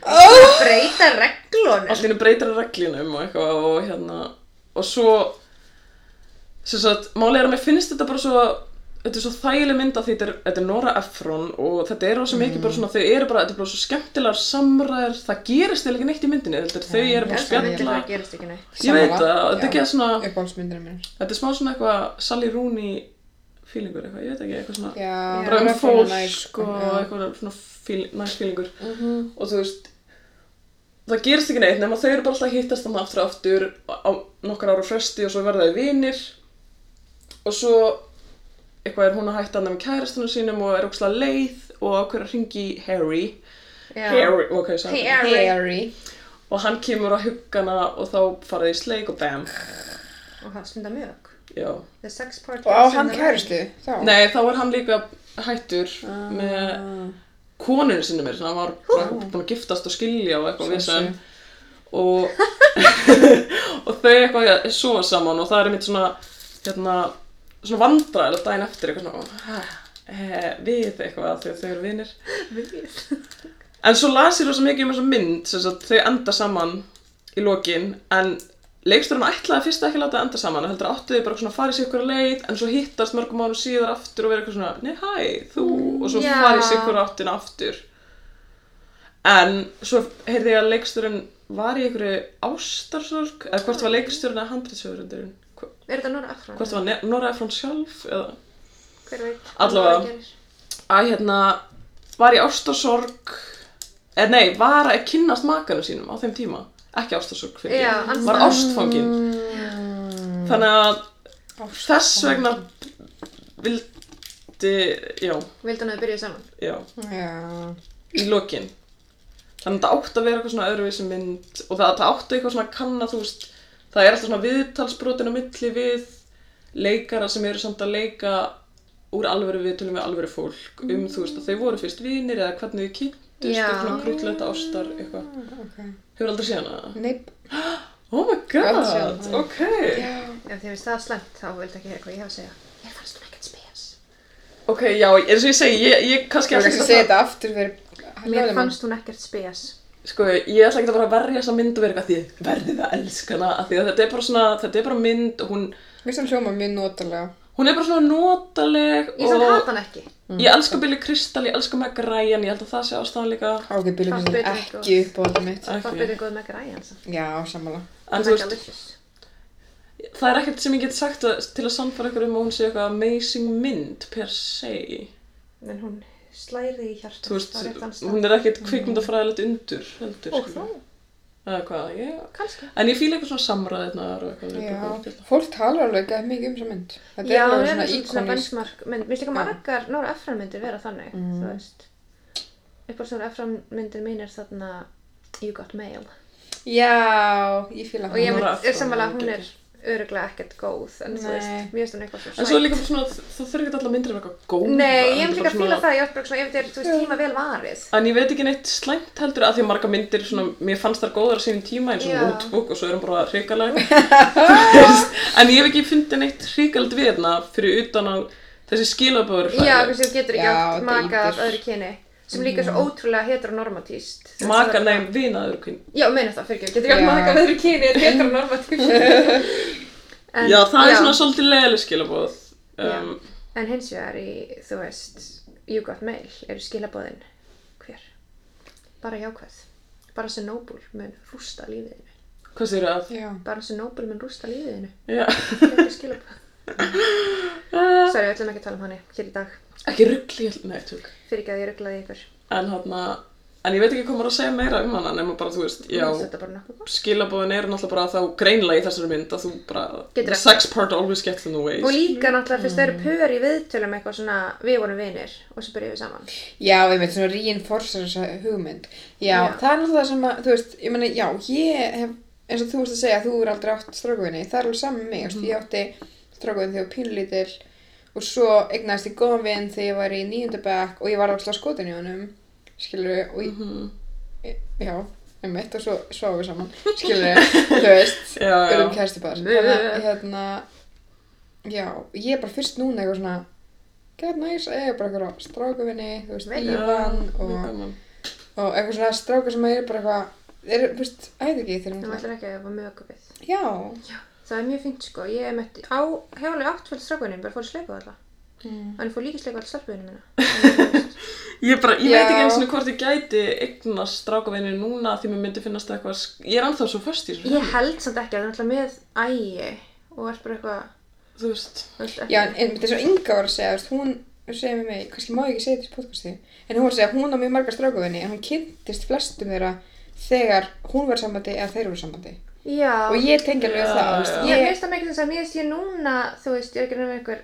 Ah.
Breyta reglunum
allt í hennu breytir hann reglunum og eitthvað og hérna og svo sem sagt, málega er að mér finnst þetta bara svo þetta er svo þægileg mynd af því þetta er, þetta er Nora Ephron og þetta er rosa mikið bara svona þau eru bara, þetta er bara svo skemmtilegar samræður það gerist þeir ekki neitt í myndinni þetta er þau eru bara að
Þessa myndi
spjalla
það gerist ekki neitt
ég veit það, þetta er ekki að svona
uppáhaldsmyndirinn minn
þetta er smá svona eitthvað Sally Rooney feelingur eitthvað, ég veit ekki, eitthvað svona
já,
bara um fólk
sko
og eitthvað svona fíl, næsfílingur og þú veist það gerist ekki neitt nema þau eru bara alltaf að hittast þannig aftur og aftur á nokkar ára fresti og svo verða þau vinir og svo eitthvað er hún að hætta hann með kærastunum sínum og er ógslag leið og ákveður að ringi í Harry
Já.
Harry, ok, sagði
Hey, Harry.
Harry
og hann kemur að hugga hana og þá fara þau í sleik og bam
og það stunda mjög
já
The sex part
og á
gets in
hann
the way.
kærustu þá
Nei, þá var hann líka hættur
Ah.
með konunni sinni mér, hann var bara búin að giftast og skilja og eitthvað við sem og, og þau eitthvað ja, sofa saman og það er mitt svona hérna, svona vandræðilegt daginn eftir eitthvað svona eh, við eitthvað þegar þau eru vinir En svo las ég rosa mikið um þessa mynd sem sagt, þau enda saman í lokin en leiksturinn ætlaði fyrst ekki að láta það enda saman heldur áttu þau bara svona að fara í sig ykkur leið en svo hittast mörgum mánu síðar aftur og vera eitthvað svona nei hæ, þú og svo
já.
fara í sig ykkur áttin aftur en svo heyrði ég að leiksturinn var í ykkur ástarsorg eða hvort var leiksturinn að handriðsöfurundurinn hvort
Er þetta Nora Afran?
var Ne- Nora Efron sjálf eða
Hver veit?
Allavega.
Hvað gerir?
að hérna var í ástarsorg eða nei, var að kynnast makanum sínum á þeim tíma ekki ástarsorg fyrir
Já,
var
andstæðan.
ástfangin þannig að þess vegna vildi já,
Vildi hann að þau byrja saman?
já,
Já.
í lokin þannig að það átti að vera eitthvað svona öðruvísi mynd og það, það átti eitthvað svona að kanna þú veist, það er alltaf svona viðtalsbrotin á milli við leikara sem eru samt að leika úr alvöru viðtölum við alvöru fólk
Mm.
um þú veist að þau voru fyrst vinir eða hvernig þau kynntust
Já.
eitthvað svona krútleta ástar eitthvað
Ok.
hefur aldrei séð hana?
Neip.
Oh my
Mm. Aldrei séð
god,
hana.
ok
Ef þið finnst það slæmt þá vildi ekki heyra hvað ég hef að segja. Ég fannst hún ekkert spes.
ok, já, eins og ég segi, ég, ég
Ég
kannski
vil ekki
ætla ekkert
að segja þetta aftur fyrir
Mér fannst hún ekkert spes.
Sko, ég ætla ekki að fara að verja þessa mynd og vera eitthvað því verðið að elska hana af því að þetta er bara svona, þetta er bara mynd og hún,
Mér finnst hann hljóma mjög notalega.
hún er bara svona notaleg
Ég sann
og
hata hann ekki.
ég elska Billy Crystal, ég elska Meg Ryan, ég held að það sé ástæðan líka
Ok, byrjum
Fannst
við
betur en
ekki upp á þetta mitt.
Það byrja góð með græjan samt.
Já, sammála.
En
Hún
þú
er ekki
veist,
alveg
það er ekkert sem ég get sagt að, til að sannfara ykkur um að hún sé eitthvað amazing mynd per se.
En hún slæri í hjartum.
Þú veist, hún er ekkert kvikmyndafræðilegt undur, heldur.
Og
skilur.
þó,
Eða hvað, ég...
kannski.
En ég fíla eitthvað svona samræðirnar og eitthvað.
Já.
eitthvað-
Fólk talar alveg ekki mikið um þessa mynd. Þetta
Já,
er
hún er
alveg svona
svona, svona
íkonis.
benchmark mynd. Mér slikar margar Nora Ephron myndir vera þannig, þú veist. Upp á svona Ephron myndir mín er þarna You Got Mail.
Já, ég fíla
Og ég
hana.
mynd,
Nora
er
Ephron
sammála að hún
er
er öruglega ekkert góð, en þú
Nei.
veist, mér finnst hún eitthvað svo
En svo er líka bara svona, það þurfi ekki alltaf myndir að vera eitthvað góða.
Nei, ég hef
heldur
líka
bara
að
svona-
fíla það, ég átt bara svona, ef þetta er, þú veist, tíma vel varið.
En ég veit ekki neitt slæmt heldur að því að marga myndir, svona, mér fannst þar góðar á sínum tíma eins og
Já.
notebook og svo erum bara hrikalega. Þú veist, en ég hef ekki fundið neitt hrikalegt við hérna fyrir utan að þessi skilaböður
Já, kannski þú getur ekki
Já,
átt
þetta
maka af
ýtir.
öðru kyni, sem líka er svo ótrúlega heteronormatíst.
Mm. Maka, nei, vinaður kyn.
Já, meina það, fyrir getur ekki átt
Já.
maka af öðru kyni, er heteronormatíst. En-
Já, það er svona svolítið leðileg skilaböð. Um,
En hins vegar í, þú veist, You Got Mail eru skilabóðin hver? Bara jákvæð. Bara sem Noble mun rústa lífiðinu.
hvað séu að?
Já.
Bara sem Noble mun rústa lífiðinu.
Já.
Það er ekki skilabóð. Sorry, við ætlum ekki að tala um hann hér í dag.
ekki ruggli, nei, tjók.
Fyrir ekki að ég rugglaði ykkur.
En hérna, en ég veit ekki hvað maður að segja meira um hana nema bara, þú veist, já.
Þetta er bara nokkuð góð.
skilabóðin eru náttúrulega bara þá greinlega í þessari mynd að þú bara
Getur
the
ekki.
sex part always gets in the way
Og líka náttúrulega fyrst þau
Mm.
eru pör í viðtölum eitthvað svona við vorum vinir og svo byrjuðum við saman.
Já, ég veit, svona reinforcer þessa hugmynd. Já,
Já.
það er náttúrulega sem að, þú veist, ég meina, já, ég hef, eins og þú veist að segja að þú er aldrei átt strákuðinni, það er alveg saman með mig, mm. ég átti strákuðin þegar ég var pínlítil og svo eignaðist ég góðan vinn þegar ég var í nýjöndabæk og ég var alltaf skotin í honum, skilur, og ég,
Mhm.
já, einmitt, og svo sváum við saman, skilur, þú veist,
Já, já.
erum kæristi bara,
Mö.
þannig að, hérna, já, ég er bara fyrst núna eitthvað svona, get nice, að ég er bara eitthvað á strákuvinni, þú veist,
Mega.
Ívan
mjög
og,
gaman.
og eitthvað svona strákar sem eru bara eitthvað, þeir eru, þú veist, æði ekki þeir
En maður
eru
ætlar ekki að hafa mögupið.
Já,
Það er mjög fint sko. Ég er mött á hefurlega áttfjöld strafgunin, bara fór í sleipu alltaf. Mm. Hann fór líka í sleipu alltaf stelpunum minna.
ég, bara, ég
Já.
veit ekki eins og hvort ég gæti eignast strákavinni núna því mér myndi finnast eitthvað sk- ég er anþá svo föst í þessu
Ég held samt ekki að það er náttúrulega með ægi og er bara eitthvað,
þú veist
þú veist, ekki.
já, en einmitt eins og Inga var að segja, þú veist, hún hún segir mér mig, kannski má ég ekki segja þetta í podcasti, en hún var að segja að hún á mjög margar strákuvinni, en hún kynntist flestum þeirra þegar hún var í sambandi eða þeir voru í sambandi.
Já,
Og ég tengi alveg
Já,
það, þú veist,
já.
ég
ég,
veist það mikið þess að mér veist ég núna, þú veist, ég er ekki nefnir einhver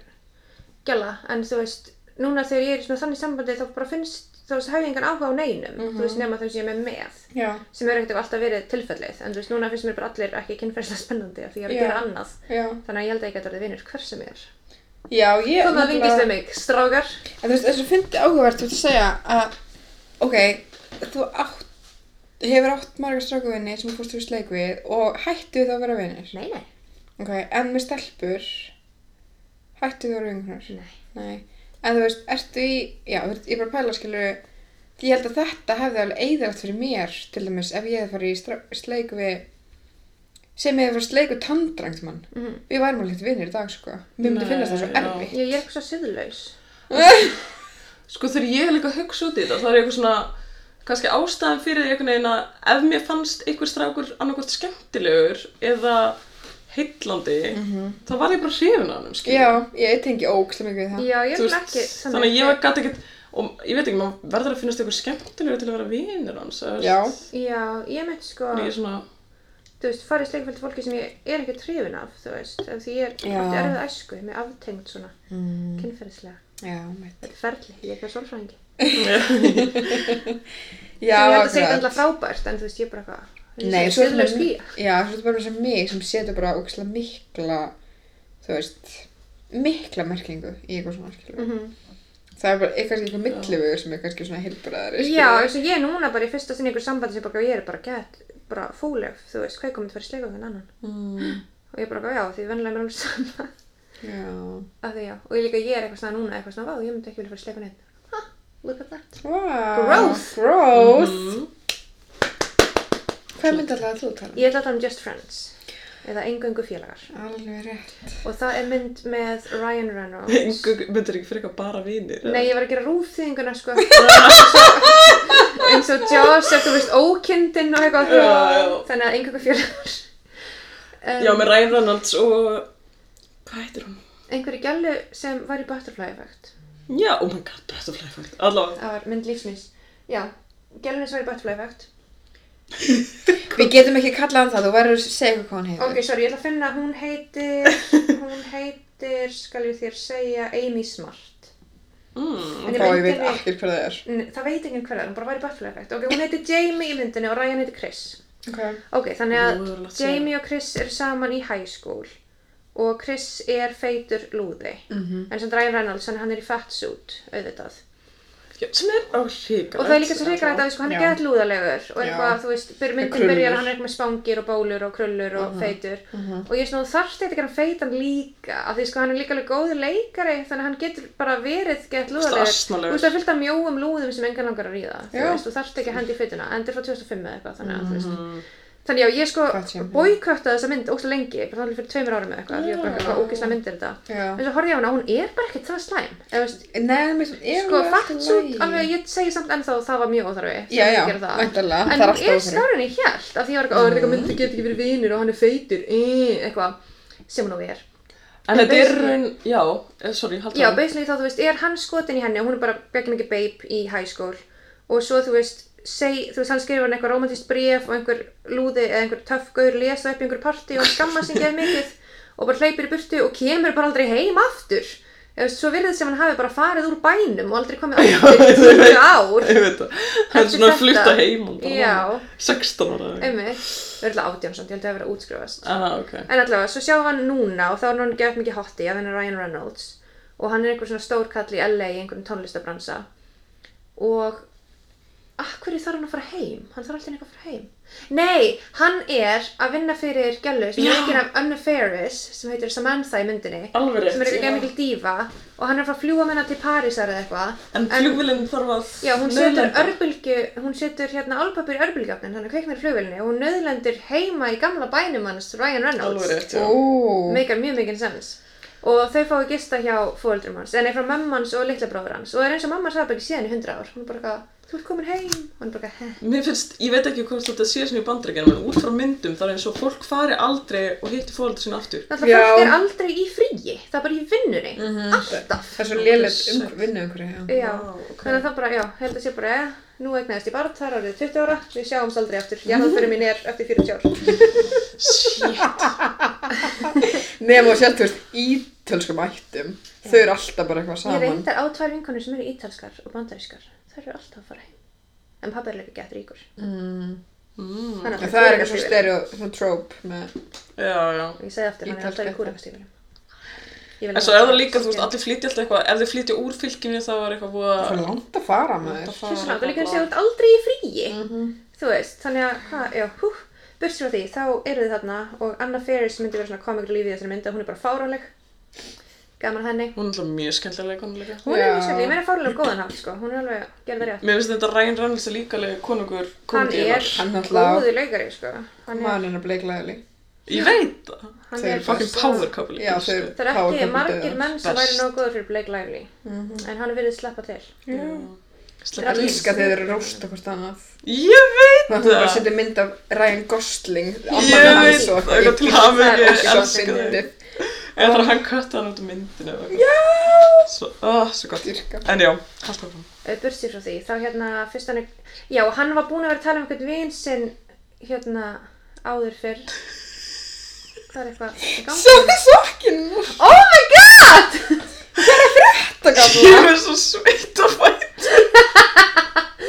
gjalla, en þú veist, núna þegar ég er í svona þannig sambandi þá bara finnst, þú veist, hef ég engan áhuga á neinum, þú
Mhm.
veist, nema þau sem ég er með með,
já,
sem er ekkert alltaf verið tilfellið, en þú veist, núna finnst mér bara allir ekki kynferðislega spennandi af því ég er að
Já.
gera annað,
já,
þannig að ég held að ég gæti orðið vinur hver sem er.
já, ég...
Komið að vingist
nefnilega-
við mig, strákar.
En þú veist, þess að fyndi áhugavert þú ert að segja að, ok, þú átt, hefur átt margar strákuvinni sem þú fórst úr sleik við og hættu þá að vera vinir.
Nei, nei,
Ok, en með stelpur, hættu þú að vera vingunar?
nei.
Nei. En þú veist, ertu í, já, þú veist, ég er bara að pæla skilur, Því ég held að þetta hefði alveg eðalagt fyrir mér, til dæmis, ef ég hefði farið í stra- sleik við sem ég hefði farið í sleik við tandrangtmann. Mm -hmm. Við værum alveg vinnir í dag, sko. Mér myndi
Nei,
finnast það svo
já.
erfitt.
Mhm. Ég, ég er eitthvað svo siðlaus.
Sko þegar ég er líka að hugsa út í þetta, þá er ég eitthvað svona, kannski ástæðan fyrir því einhvern veginn að ef mér fannst einhver strákur annarkvort skemmtilegur eða heillandi, þá var ég bara hrifin af hann,
Mhm. Já, ég tengi ókslega mikið við það.
Já, ég
Þú
er
veist,
ekki þannig.
þannig að ég var gæti ekkert, og ég veit ekki, maður verður að finnast eitthvað skemmtilegur til að vera vinur hans, eða,
Já,
þú veist,
Já, ég meint sko,
þannig að ég er svona,
þú veist, farið sleikfælt fólki sem ég er ekki trífin af, þú veist, af því ég er
Já.
átti erfið æsku, mér aftengt svona, mm. kynferðislega.
já, meitt.
Þetta er ferli, ég er ekki að sólfræðingi.
Já,
Sem ég held að segja
akkurat.
þetta alltaf frábært, en þú veist, ég er bara eitthvað, þú
Nei,
veist,
svo er
siðlaus
þetta
skýja.
bara- já, svo er þetta bara sem mig sem setur bara ókslega mikla þú veist, mikla merkingu í eitthvað svona skilur
Mm. Mhm.
það er bara eitthvað, kannski eitthvað millivegur sem er kannski svona heilbræðari
Já, eins og ég er núna bara í fyrsta sinni í einhver sambandi sem bara, ég er bara gett, bara fóleg, þú veist, hvað er komið til að fara í sleika okkur annan?
mm,
Og ég er bara, já, því venlega mér alveg sama.
já.
Af því já, og ég líka ég er eitthvað svona núna, eitthvað svona, vá, ég myndi ekki vilja fara í sleika neitt. Ha, look at that.
Wow,
Growth.
growth.
mm,
hvað myndi alltaf að þú tala? um?
Ég ætla að tala um Just Friends, eða Engöngu félagar.
alveg rétt
Og það er mynd með Ryan Reynolds.
engu, myndir ekki fyrir eitthvað bara vinir, eða?
Nei, ég var að gera rúfþýðinguna, sko. eins og- eins og Joss, er þú veist, ókindinn og eitthvað.
Já, já.
Þannig að Engöngu félagar. Um,
Já, með Ryan Reynolds og, hvað heitir hún?
Einhverju gælu sem var í Butterfly Effect.
Já, oh my god, Butterfly Effect, allavega.
Það var mynd lífsmins. Já, gælunni sem var í Butterfly Effect.
við getum ekki kallað hann það, þú verður að segja hvað hann heitir
Ok, sorry, ég ætla að finna, hún heitir, hún heitir, skal ég þér segja, Amy Smart.
Mm,
En í
Ó, ég veit
myndinni-
ekkert hvað það er
N- Það veit enginn hver það er, hún bara var í Butterfly Effect. Ok, hún heitir Jamie í myndinni og Ryan heitir Chris.
okay.
Ok, þannig að
Jú, örugglega séð.
Jamie og Chris eru saman í high school og Chris er feitur lúði.
Mhm.
En sem Ryan Reynolds, hann, hann er í fatsuit, auðvitað.
já, sem er á hrigalegt.
Og það er líka svo hreikrægt að sko, hann er
Já.
gett lúðalegur og
Já.
eitthvað, þú veist, byr, myndin
krullur.
byrjar að hann er eitthvað með spangir og bólur og krullur og feitur.
Mhm.
Og ég er svona, þú þarft eitthvað hann feitan líka, af því sko hann er líka alveg góður leikari, þannig að hann getur bara verið gett lúðalegur. Þú
asnalegur.
veist, það er fyllt af mjóum lúðum sem engan langar að ríða, þú
Já.
veist, þú þarft ekki að hendi í feituna, en þetta er frá 2005 eða eitthvað, þannig að þú veist. Þannig já, ég
Gott
sko
sem-
boykottaði þessa mynd ógst lengi, bara þannig fyrir tveimur árum eða eitthvað, ég var bara eitthvað ógislega myndir þetta. En
já
svo horfði ég á hana, hún er bara ekkert það slæm. Eða, veist,
neðan mér sem er
sko,
alveg allt í
fattsút,
lagi.
alveg, ég segi samt ennþá að það var mjög óþarfi. þegar
já,
ég
já,
geri það.
væntanlega,
En
það er
hún
alltaf
er
óþarfi.
skárinn í hjælt, af því ég var eitthvað, ó, er þetta eitthvað mynd að geta ekki verið vinir og hann er feitur, eh, eitthvað, sem hún og er.
En þetta er raun, já, eh, sorry, haldur
Já, basically þá, þú veist, er hann skotin í henni og hún er bara begge mikið babe í high school og svo, þú veist, seg, þú veist, hann skrifur hann eitthvað romantist bréf og einhver lúði eða einhver töffgaur lesa upp í einhver partí og hann skamma sig geð mikið og bara hleypir í burtu og kemur bara aldrei heim aftur. Eða, þú veist, svo virðið sem hann hafi bara farið úr bænum og aldrei komið aftur í 20 ár.
Ég veit það, það er
Eftir
svona að
þetta.
flutta heim og bara
Já.
16 ára eða eitthvað.
Einmitt, það er alltaf átjánsand, ég held að það hafi verið að útskrifast.
Ah, ok
En allavega, svo sjáum við hann núna og þá er hann gefið mikið hotti af henni Ryan Reynolds og hann er einhver svona stór kall í LA í einhverjum tónlistabransa og af hverju þarf hann að fara heim? Hann þarf alltaf eitthvað að fara heim. Nei, hann er að vinna fyrir gælu sem
Já.
er ekki af Anna Faris sem heitir Samantha í myndinni
Alveg rétt,
sem er
já.
ekki mikil dífa og hann er að fara að fljúa með hennar til Parísar eða eitthvað
En flugvillin þarf að
Já, hún setur
nauðlenda.
örbylgju, hún setur hérna álpapir í örbylgjöfnin, þannig að kveiknar í flugvélni og hún nöðlendir heima í gamla bænum hans Ryan Reynolds
Alveg rétt, já
Ó,
meikar mjög mikið sens og þau fái gista hjá fóreldrum hans en er frá mamma hans og litla bróður hans og er eins og mamma hans hafa bara ekki síðan í hundra ár hún er bara eitthvað, þú ert komin heim og hann er bara eitthvað,
Mér finnst, ég veit ekki hvort þetta sé svona í bandreikinu en út frá myndum þar er eins og fólk fari aldrei og hitti fólöldur sína aftur
heh náttúrulega
Já.
fólk er aldrei í fríi það er bara í vinnunni,
Mhm.
alltaf
það er svo lélega um, vinna einhverju
já,
ok.
þannig að það bara, já, held að sé bara eh, nú eignaðist ég barn, þar árið 20 ára við sjáumst aldrei aftur, já, það fyrir mín er eftir 40 ár
Shit,
Nefn og sjálf, þú veist, ítölskum ættum Þau eru alltaf bara eitthvað
ég
saman
reyndar á tvær vinkonur sem eru ítalskar og bandarískar þær eru alltaf að fara heim en pappa er líka gett ríkur
mm.
mm.
Þannig að
En það er
kúrekastífilinn.
eitthvað svo stereo, svona trope með
já, já
ég segi aftur, hann er alltaf í
Ítalska.
kúrekastífinum
En svo er það líka, þú veist, allir flytja alltaf eitthvað Ef þið flytja úr fylkinu þá er eitthvað búið
Það
að
er langt að fara
Langt
maður
að
Svo
fara.
svona, þú líka að segja þú ert aldrei í fríi
Mhm.
Þú veist, þannig að, hvað, já, hú Burt frá því, þá eru þið þarna og Anna Ferris myndi vera svona komikur lífið í þessari mynd að hún er bara fáráleg gaman henni
Hún er alltaf mjög skemmtilega leikonu líka.
hún er
Já.
mjög skemmtileg, ég meina fárlega góðan hátt sko hún er alveg, gerða rétt
Mér finnst þetta Ryan Reynolds er líka alveg konungur
hann
komedíunnar.
er
Hann náttúrulega-
góðu leikari sko hann er,
Mann hennar Blake Lively.
Ég veit það.
hann
þau
er
eru
Fucking
svo-
power couple. sko.
Já, þau eru-
það er
Power
ekki
couple
margir
dauðans.
menn sem væri
Best.
nógu góður fyrir Blake Lively
Mhm.
en hann er verið sleppa til
Mm.
Já.
Sleppa
Ég
Ég
til.
elska þegar þeir eru að rósta hvort annað.
Ég veit
Það
það.
hún bara setur mynd af Ryan Gosling.
Ég veit það.
það.
Eitthvað til hafa
Það
ekki.
er
Ég elska
Elska þau.
fyndið.
Eða þarf hann kött hann út úr myndinu. eða eitthvað. Svo, ah, svo gott.
Dýrka.
En já, haldt áfram.
Eh, burtsér frá því, þá hérna fyrst hann er, já, hann var búinn að vera að tala um einhvern vin sinn hérna áður fyrr það er eitthvað í gangi
Sjáðu sokkinn núr.
Oh my god!
Þetta gaf hún.
Ég er svo sveitt og fætt.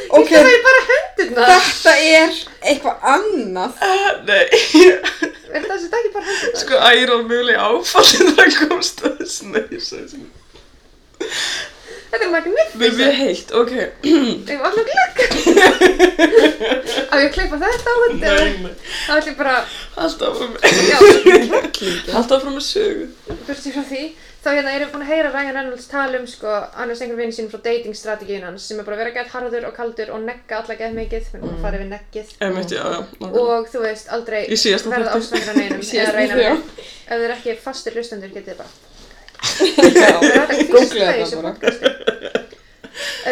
Ok,
Það er bara hendurna
þetta er eitthvað annað.
Nei,
Er það sem ekki bara hendurna?
sko æra mjögulega áfallin þegar hann komst að þessu neysa.
Þetta er magnificent
Mér er mjög heitt, ok.
Ég var alveg glögg Á ég að klippa þetta á þetta eða?
Nei, nei.
Þá ætlum ég bara,
Haldt áfram.
já,
Haldt áfram með sögu.
burtsér frá því Þá hérna erum við búin að heyra Ryan Reynolds tala um sko annars einhver vinn sín frá datingstrategíun hans sem er bara að vera gett harður og kaldur og negga alla gett mikið, við erum að fara yfir neggið
Emmett, já, já. nákvæmlega.
og þú veist aldrei
Í síðasta
verða
þætti.
ástæður að neinum eða
Í síðasta
reyna
þætti, já.
með ef þið er ekki fastir hlustendur getið þið bara
Já.
það er
Googlið
hvísla í
þetta
þessu
bara.
podcasti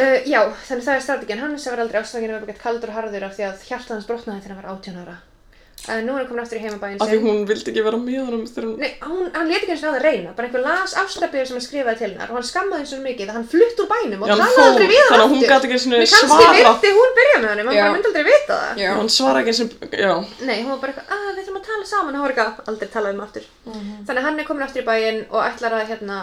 uh, já, þannig það er strategin hans að vera aldrei ástæðingin að vera kaldur og harður af því að hjarta hans brotnaði þegar hann var 18 ára uh, nú er hann komin aftur í heimabæin
Af því
sinn
hún vildi ekki vera með honum þegar hún...
Nei, hún, hann leti ekki eins og að það reyna, bara einhver las ástabriður sem hann skrifaði til hennar og hann skammaði svo mikið að hann flutt úr bænum og
Já, hann
talaði
fór,
aldrei við hann
þannig að hún
aftur.
gat ekki einu sinni
Mér
svarað.
Kannski vildi hún byrja með honum, hann
Já.
bara myndi aldrei vita það.
Já.
Hann svara ekki eins og... Já.
Nei, hún var bara eitthvað, að við þurfum að tala saman og hún var eitthvað, aldrei tala um aftur.
Mhm.
Þannig að hann er komin aftur í bæinn og ætlar að hérna,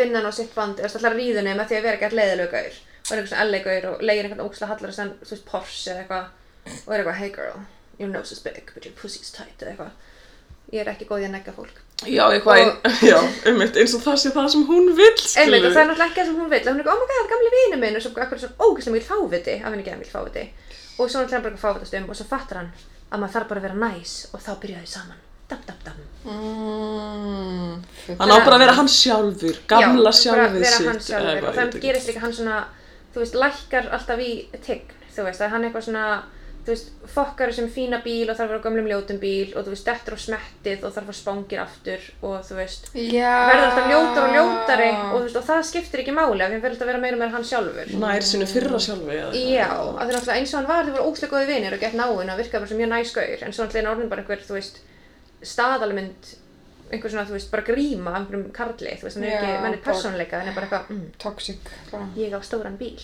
vinna hann á sitt band, eða þú veist, ætlar að ríða henni með því að vera eitthvað leiðilega gaur. Og er eitthvað svona ellega gaur og leiðir einhvern ógslag hallar og sen, þú veist, Porsche eða eitthvað. Og er eitthvað, hey girl, your nose is big, but your pussy's tight eða eitthvað. Ég er ekki góð í að negga fólk.
Já, eitthvað ein... Já, einmitt, eins og það sé það sem hún vil, skilur.
Einmitt, og það er náttúrulega ekki það sem hún vil. Hún er eitthvað, oh my god, gamli vinu minn, og svo akkur er svo ógeðslega mikil fáviti, af henni geðan mikil fáviti. Og svo náttúrulega bara eitthvað fávitast um, og svo fattar hann að maður þarf bara að vera næs, og þá byrja þau saman. Dam, dam, dam.
Mm, fyndið.
Hann á bara að vera hann sjálfur, gamla
Já, bara
sjálfið
vera
sitt.
hann
eða
sjálfur og
eitthvað, ég veit
þannig
ekki.
gerist líka hann svona þú veist, lækkar alltaf í tign þú veist, að hann er eitthvað svona þú veist, fokkar sem fína bíl og þarf að vera á gömlum ljótum bíl og þú veist, dettur á smettið og þarf að spangir aftur og þú veist
Já.
verður alltaf ljótar og ljótari og, þú veist, og það skiptir ekki máli af því hann verður alltaf að vera meira og meira hann sjálfur
Nær sinu fyrra sjálfi, eða eitthvað.
Já, af því náttúrulega eins og hann var, þau voru óslega góði vinir og gett náinn og virkaði bara sem mjög næskaur en svo náttúrulega er hann orðinn bara einhver, þú veist, staðalmynd, einhver svona, þú veist, bara gríma af einhverjum karli, þú veist, hann er
Já,
ekki, menn er
bara-
persónleika, hann er bara eitthvað, mm,
Toxic. bara.
ég á stóran bíl.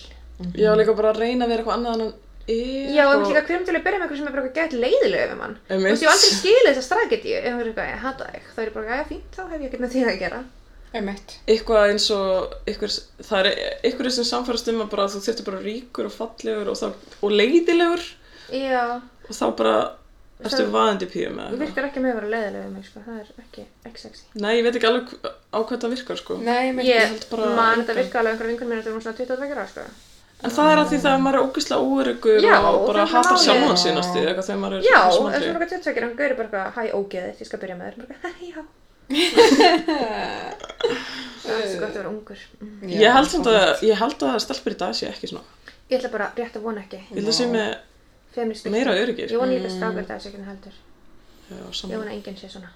Já, líka bara að reyna að vera eitthvað annað en hann er.
Já, en
og-
líka hverjum til að byrja með einhverjum sem er bara eitthvað gett leiðilega um hann. Þú
Einmitt.
veist, ég hef aldrei skilið þessa strategíu, ef hann er eitthvað, ég hata þig, þá er ég bara, já, fínt, þá hef ég ekkert með þig að gera.
Einmitt.
Eitthvað eins og, ykkur, það er ykkur sem samfærast um að bara þú þurftir bara ríkur og fallegur og, þá, og leiðilegur
Já,
og þá bara ertu
Það-
vaðandi píum
ég
eða eitthvað.
virkar ekki með að vera leiðilega um mig, sko, það er ekki, ekki sexy.
Nei, ég veit ekki alveg á hvað það virkar, sko.
Nei, einmitt.
Ég
held bara
man þetta
engan.
virka alveg einhverjum vinkunum minn þegar hún var svona 22 ára, sko.
En það er að því það að maður er ógeðslega óöryggur
Já,
og
það
bara
er
hatar
málið.
sjálfan sig næstu því, eitthvað þegar maður er
Já, það er
svona
svona
eldri.
eitthvað tjöttsökir, hann gaurir bara eitthvað, hæ, ógeðið, ég skal byrja með þér, bara, eitthvað, hæ, já. Það er svo gott að vera ungur. Mm.
Ég held samt að, ég held að stelpur í dag sé ekki svona.
Ég ætla bara rétt að vona ekki,
Ég held að sé með
feminist.
meira öryggir.
Ég vona líka strákar það sé ekki heldur.
Já,
Ég
sammála.
vona enginn sé svona.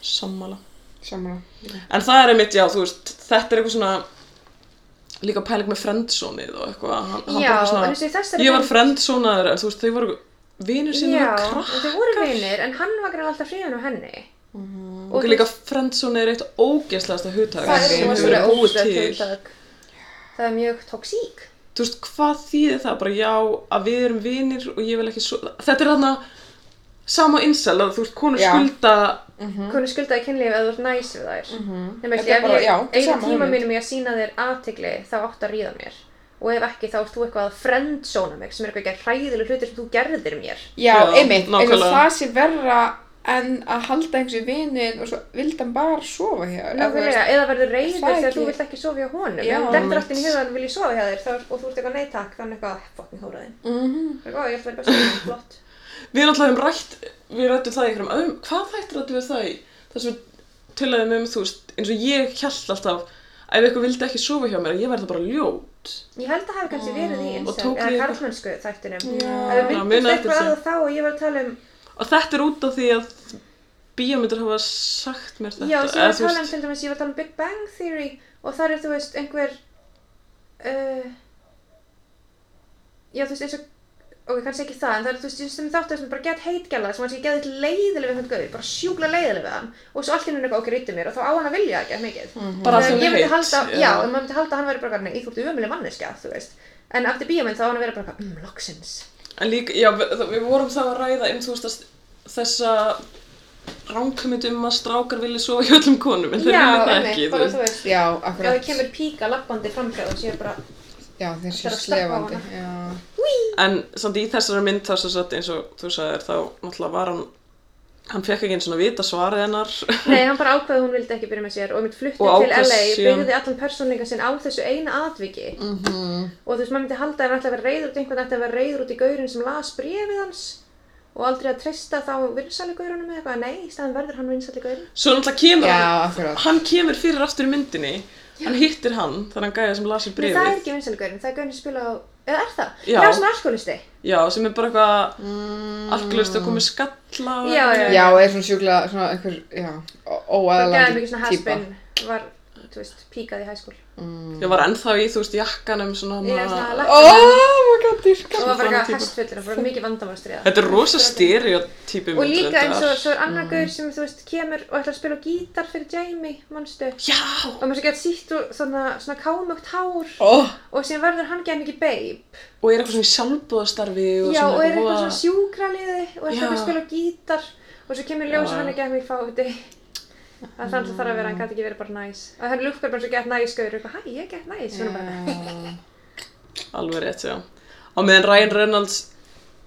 sammála.
Samra.
En það er einmitt, já, þú veist, þetta er eitthvað svona, líka pæling með friendzónið og eitthvað. Hann, hann
Já,
bara
en þessi í þessari
Ég var
mynd-
friendzónaður, en þú veist, þau voru vinur sín
Já,
og
en þau
krakk.
voru vinir, en hann var greið alltaf fríðan á henni.
Og líka friendzónið er eitt ógeðslegasta hugtæk.
það er
sem
svona
hefur
svona
búið
óslega
til.
tiltak. Það er mjög toksík.
þú veist, hvað þýðir það bara, já, að við erum vinir og ég vil ekki svo, þetta er þarna sama insel, að þú veist, konur
Já.
skulda
Hvernig skuldaði kynlíf að þú ert næs við þær? Nefnir,
Mhm. Þetta er
ef
bara- já,
ég eigin
sama
tíma
hugmynd.
mínum í að sína þér aðtegli þá átt að ríða mér. Og ef ekki þá ert þú eitthvað að friendzóna mig sem er eitthvað ekki hræðileg hlutir sem þú gerðir mér.
Já,
Já,
einmitt. Eins og
nákvæmlega.
það sé verra en að halda einhversu vinin og svo vildi hann bara sofa hér.
Nákvæmlega, eða verður reyður
það
þegar
ekki-
þú vilt ekki sofa hjá honum.
Já.
Já, en þetta er alltaf í hugan vil ég sofa hjá þér þá, er- og þú ert eitthvað nei takk, þannig eitthvað fucking hóraðinn.
Mhm.
Það er góð, ég ætla að vera besta, flott.
við erum alltaf um rætt, við rættum það í einhverjum öðrum, hvað þættir rættum við það í, þar sem við til að með, þú veist, eins og ég held alltaf að ef eitthvað vildi ekki sofa hjá mér að ég verði bara ljót
Ég held að hafi kannski verið
Ah.
í
Og
einsæð,
tók því
eða
eitthvað-
karlmennsku þættinum.
Já.
Að við
Já,
myndum
muna
eitthvað
eftir
að það þá og ég var að tala um,
og þetta er út af því að bíómyndir hafa sagt mér þetta
já, sem ég var að
eða þú
tala um
veist,
til dæmis, ég var að tala um Big Bang Theory og þar er, þú veist, einhver, uh, já, þú veist, eins og, ok, kannski ekki það, en það er, þú veist, ég sem þáttu sem bara gett heitgjala, sem hans ég geðið leiðileg við hann gauður, bara sjúkla leiðileg við hann og svo allt í hennu eitthvað, ok, rýtti mér og þá á hann að vilja ekki mikið.
Mhm.
bara
Þegar
því
ég
hún
myndi
Hmm. er
halda,
heit
já, en maður myndi halda að hann væri bara eitthvað, nei, þú ert umjölu manneskja, þú veist, en eftir bíómynd þá á hann að vera bara eitthvað, mm, loksins.
en líka, já, við, það- við vorum þá að ræða um þú veist að þessa ránkumynd um að strákar vilja sofa hjá öllum konum en þeir
Já,
vilja það
einmitt,
ekki, þú
bara
veist
þú veist,
Já,
Já, það
akkurat.
kemur píka lappandi framhjá og séu bara
Já,
Þeir
þeir séu
að sleppa á hana.
slefandi. Já.
En samt í þessari mynd þá sem sagt eins og þú sagðir þá náttúrulega var hann hann fekk ekki eins og að vita svarið hennar
Nei, hann bara ákvaði að hún vildi ekki byrja með sér og mitt flutti
Og
til
ákvað
LA,
síðan-
byggði allan persónleika sinn á þessu eina atviki
Mhm.
og þú veist, maður myndi halda að hann ætti að vera reyður út í einhvern ætti að vera reyður út í gaurinn sem las brefið hans og aldrei að treysta þá vinsali gaurunum eða eitthvað, nei, í staðan verður hann vinsali gaurinn
Svo náttúrulega kemur
Já,
hann
akkurat.
hann kemur fyrir aftur í myndinni hann hittir hann, þannig gæja sem lasir
Nei, það er
brefið
ekki vinsali gaurinn, það er gaurinn sem spila á, eða er það?
Já.
sem er alkoholisti
Já, sem er bara eitthvað mm. alglust að komið skalla og-
Já, já.
Já, eða svona sjúkla, svona einhver, já, ó-
Það gæði
óaðlandi
mikið svona haspin, var, þú veist, píkað í hæskól
Ég var ennþá í, þú veist, jakkanum svona,
Ég er svona
svona
að
Ó, oh my god,
og
dyrka.
var bara
Svona
eitthvað
típa.
hestfullur og bara mikið vandamálstriða
Þetta er rosa stereotypi
Og líka eins og svo er annar
Mm.
gaur sem þú veist kemur og ætlar að spila á gítar fyrir Jamie, mannstu?
Já,
Og maður sé gett sítt og svona, svona kámugt hár
Ó,
og síðan verður hann gæði mikið babe.
og er eitthvað svona í sjálfbúðastarfi og
Já,
svona
og er eitthvað
voða-
svona sjúkraliði og
Já.
ætlar eitthvað að spila á gítar og svo kemur ljós
Já.
að hann er gæði mikið fáti. Það er alltaf þarf að vera, hann gæti ekki verið bara næs. Og hann lukkar bara svo gett næs gaur og eitthvað, hæ, ég er gett næs. Svona bara,
Alveg rétt, já. Á meðan Ryan Reynolds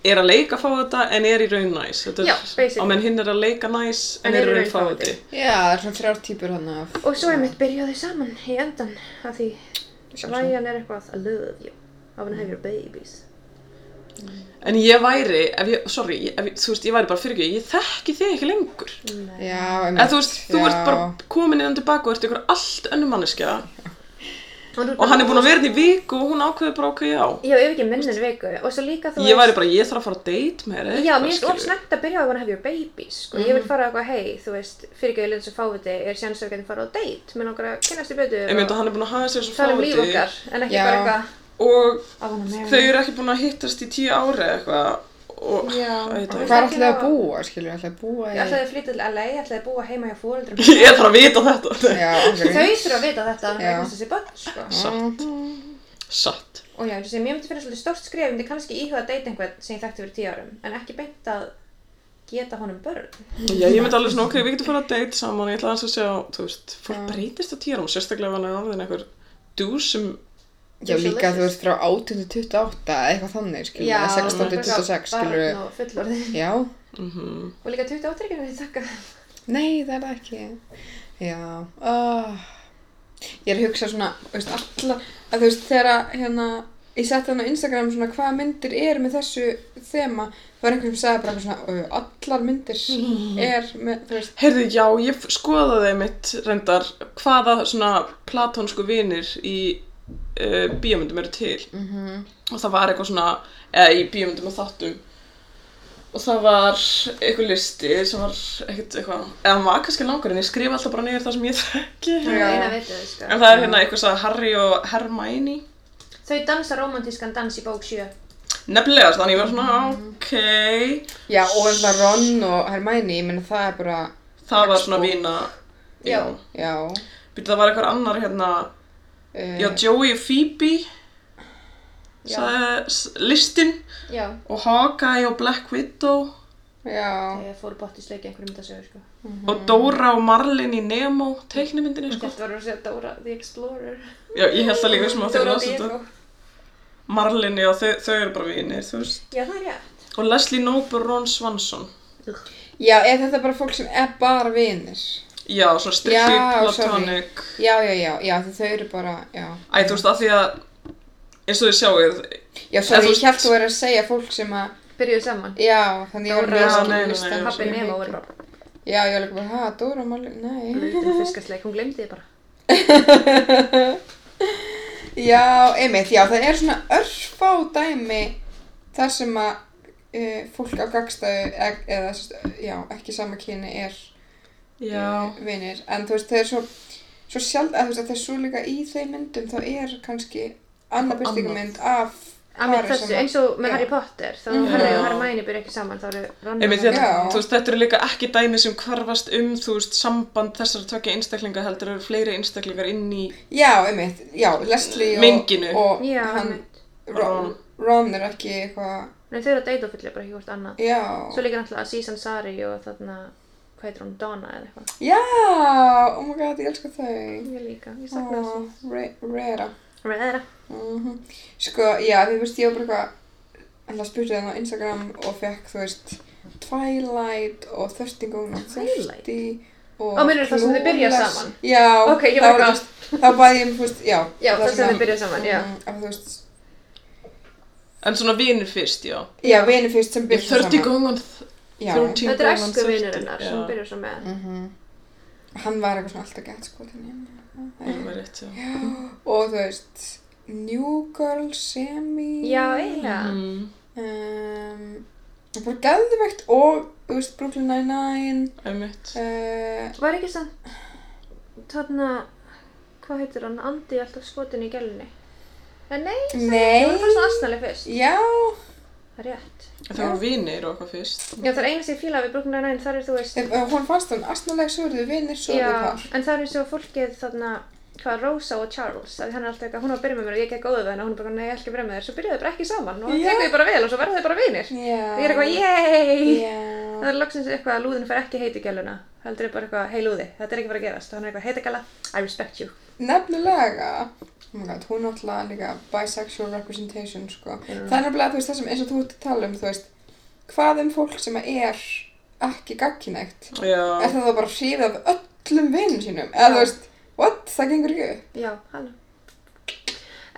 er að leika fá þetta en er í raun næs. Þetta er,
Já, basically.
Á meðan hinn er að leika næs en er í raun fá þetta.
Já, það er svona þrjár típur hann af.
og svo einmitt byrja þau saman í endan af því Ryan er eitthvað I love you, I wanna have your babies.
En ég væri, ef ég, sorry, ég- ef, ég- þú veist, ég væri bara fyrir ekki, ég þekki þig ekki lengur.
Já,
En þú veist, þú
já.
ert bara komin innan tilbaka og ert ykkur allt önnum manneskja
Og, þú-
og hann er búin að vera hérna í viku og hún ákveður bara okkur já.
Já, ef ekki minnir viku og svo líka þú
Ég væri bara, ég þarf að fara að date með þér.
Já, mér finnst of snemmt að byrja á að hafa your babies sko. ég
Mhm.
vil fara eitthvað, hei, þú veist fyrir ekki að lita svo fáviti, er sjans að við getum fara á date með langar að kynnast í betur
Ég myndi
og
að hann er búin að hafa sér svo
tala um líf
fáti
okkar en ekki
Já.
bara eitthvað
og
I wanna marry
þau eru ekki búin að hittast í tíu ári eða eitthvað og
Já.
Æ, þetta er-
Hvað er alltaf að búa, skilur, alltaf að búa í...
Ég ætlaði að flytja til LA, ég ætlaði að búa heima hjá fóreldrum
Ég þarf að vita þetta
Já, okkur.
Þau þurfa að vita þetta,
Já.
þannig að þessi börn sko.
Satt Satt
Og já, eins og sem ég myndi finna svolítið stórt skrif, ég myndi kannski íhuga að deyta einhvern sem ég þekkti fyrir tíu árum en ekki beint að geta honum börn
Já, ég myndi alveg svona, ok, við getum fara að date saman Ég ætla aðeins að sjá, þú veist, fólk breytist á tíarum Sérstaklega ef hann er orðin einhver dús sem
Já, líka þú veist frá 18-28 eða eitthvað þannig, skilur,
Já,
eða 16-26,
eitthvað
skilur.
barn og fullorðið.
Já,
mhm.
Og líka 28 er ekki verið þakka.
nei, það er það ekki. Já, oh. ég er að hugsa svona, þú veist, alla, að þú veist, þegar að, hérna, ég setti hann á Instagram svona hvaða myndir er með þessu þema, það var einhver sem sagði bara eitthvað svona, "Ö, allar myndir er með, þú veist,
Heyrðu, já, ég skoðaði mitt reyndar Hvaða svona platónsku vinir í uh, bíómyndum eru til Og það var eitthvað svona, eða í bíómyndum og þáttum Og það var eitthvað listi sem var ekkert eitthvað, eða hann var kannski langur en ég skrifa alltaf bara niður það sem ég þekki.
Það er eina vitið, sko.
En það er hérna eitthvað svo Harry og Hermione
Þau dansa romantískan dans í bók 7.
Nefnilega, þannig að ég var svona,
Mm.
ok
já, og það Ron og Hermione, ég meina það er bara,
Það var svona vína Já
Já.
já,
Býtu það var eitthvað annar hérna
uh,
Já, Joey og Phoebe
Já.
sagði s- Listin
Já.
Og Hawkeye og Black Widow
já.
Ég fór bótt í sleiki einhverju myndasögur, sko.
Og Dora og Marlin í Nemo Teiknumyndinni, sko
Þetta var að segja Dora the Explorer.
Já, ég held það líka sem að þau
Dora sko.
las þetta
Diego.
Marlin, já, þau, þau eru bara vinir, þú veist
Já, það er rétt.
Og Leslie Knope og Ron Swanson
Já, er þetta bara fólk sem er bara vinir?
Já, svona strikki,
Já, sorry.
platonic
Já, já, já, já, því þau eru bara, já.
Æ, þú veist, af því að eins og þið sjáuð,
Já, svo
Eða þú
ég
veist-
held þú verið að segja fólk sem að,
Byrjuðu saman.
já, þannig ég var
Dóra,
að
nei, nei, nei,
lista.
nei,
Pappi Nemo var bara
Já, ég var líka bara, hæ, Dóra Marley, nei.
Lítinn fiskasleik, hún glemdi þið bara.
Já, einmitt, já, það er svona örfá dæmi þar sem að uh, fólk á gagstæðu, eða, eða sem sagt, uh, já, ekki sama kyni er
Já.
uh, vinir. En þú veist, það er svo, svo sjálf, að þú veist, að það er svo líka í þeim myndum, þá er kannski annar byrstingamynd af
Amir,
pari
þessu,
sem að-
eins og með
Já.
Harry Potter, þá
Mhm.
Harry
Já.
og Hermione byrja ekki saman, þá eru Ron
Einmitt, hérna.
og
þetta,
Já.
þú veist, þetta eru líka ekki dæmi sem hvarfast um, þú veist, samband þessara tvekja einstaklinga heldur eru fleiri einstaklingar inn í
Já, einmitt, já, Leslie og,
Menginu.
og
Já,
hann,
einmitt.
Ron, Ron er ekki eitthvað,
Nei, þau eru að deyta og fyllja bara ekki hvort annað.
já,
Svo líka náttúrulega Aziz Ansari og þarna, hvað heitir hún, Donna eða eitthvað.
já, oh my god, ég elska þau.
Ég líka, ég sakna
Ó,
þessu.
Re- Rera.
Rera.
Mhm. Sko, já, þú veist, ég var bara eitthvað ætla að spyrja það hérna á Instagram og fekk, þú veist, Twilight og Thirsty Gone and
Twilight?
Thirsty og
Á, meinarðu það sem þau byrja
Clueless.
saman?
Já,
Ok, ég
þá
var
var,
eitthvað-
þú veist, þá bæði ég, um, þú veist, já
Já, það sem
að-
þau byrja saman, já.
Mhm, að þú veist,
En svona vinir fyrst, já.
já, vini fyrst sem byrja saman
30 góðan,
já.
13
Þetta er
góðan,
æsku vinnurinnar sem
já.
byrjar svo með.
Mhm. Hann var eitthvað svona alltaf gett, sko, þannig
Það var rétt, já.
Já, og þú veist, New Girl, Semi
Já, eiginlega.
Mm,
um, bara geðvegt og þú veist, Brooklyn Nine-Nine
einmitt.
uh,
Var ekki samt, þarna, hvað heitir hann, Andi alltaf skotin í gælunni? En nei, það var bara
nei
svona astanlega fyrst.
já,
Það er rétt.
Mm.
Það voru vinir og eitthvað fyrst.
Já, það er eina sem ég fílaði við Brooklyn Nine-Nine, þar er þú veist,
ef, ef eh, hún fannst hún astnaleg svo eru þau vinir, svo eru
já,
þau par
en það er eins og fólkið þarna, hvað, Rosa og Charles, að hann er alltaf eitthvað, hún var að byrja með mér og ég gekk góðu við henni og hún er bara, nei, ég ætla ekki að byrja með þér, svo byrjaðu þau bara ekki saman og það
Já.
tekur þau bara vel og svo verða þau bara vinir.
já,
Og Ég er eitthvað, yey! Það
já,
er loksins eitthvað að lúðin fer ekki heiti gæluna, heldur er bara eitthvað, hei lúði, þetta er ekki bara að gerast, og hann er eitthvað, heita gæla, I respect you.
nefnilega oh my god, hún er alltaf líka bisexual representation, sko það er nefnilega, þú veist, það sem eins og þú ert að tala um þú veist, hvað um fólk sem er ekki gagkinægt er
Já.
það þá bara hrifið af öllum vinum sínum, eða þú veist what, það gengur ekki upp
Já, halló.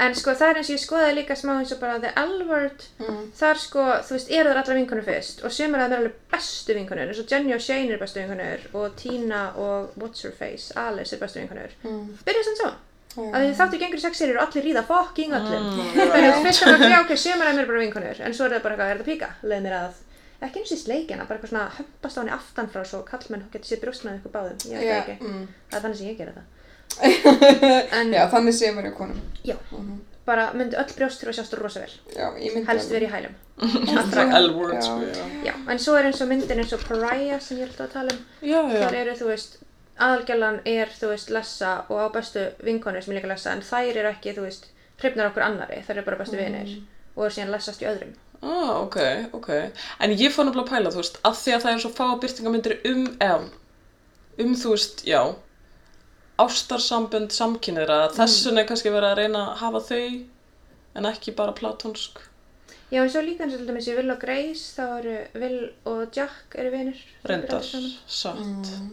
En sko það er eins og ég skoðaði líka smá eins og bara The L-word,
Mm.
þar sko, þú veist, eru þar allra vinkunum fyrst og sumir að það er alveg bestu vinkunur, eins og Jenny og Shane eru bestu vinkunur og Tina og What's Her Face, Alice eru bestu vinkunur.
mm.
Byrja samt saman,
Já.
að því þáttu gengur í sex serið og allir ríða fucking öllum. Mm.
Mm,
Þannig að fyrst er bara að ok, sumir að mér bara vinkunur, en svo er það bara eitthvað, er það píka, leið mér að ekki eins og í sleikina, bara eitthvað svona hömpast á henni aftan frá svo kallmenn getur sér brjóstnaði ykkur báðum, ég veit
Já,
það ekki,
mm.
það er þannig sem ég gera það. En-
Já, þannig séu maður hjá konum.
Já,
Mhm.
bara myndi öll brjóst þurfa að sjást rosa vel,
Já, ég myndi
helst verið
alveg-
í hælum.
Svona L-word, sko, já.
Já, en svo er eins og myndin eins og Pariah sem ég held að tala um.
Já,
Þar
já.
eru, þú veist, aðalgjallan er, þú veist, lessa og á bestu vinkonu sem er líka lessa, en þær eru ekki, þú veist, hrifnar okkur annari, þær eru bara bestu vinir og eru síðan lessast í öðrum.
Ah, ok, ok. En ég fór nefnilega að pæla, þú veist, að því að það er svo fá byrtingamyndir um, eða, um, þú veist, já, ástarsambönd
Mm.
samkynniðra, að þess vegna er kannski verið að reyna að hafa þau, en ekki bara platónsk.
Já, en svo líka eins og til dæmis í Will og Grace, þá eru Will og Jack eru vinir. Þau eru
Reyndar,
aldrei saman.
satt,
Mm.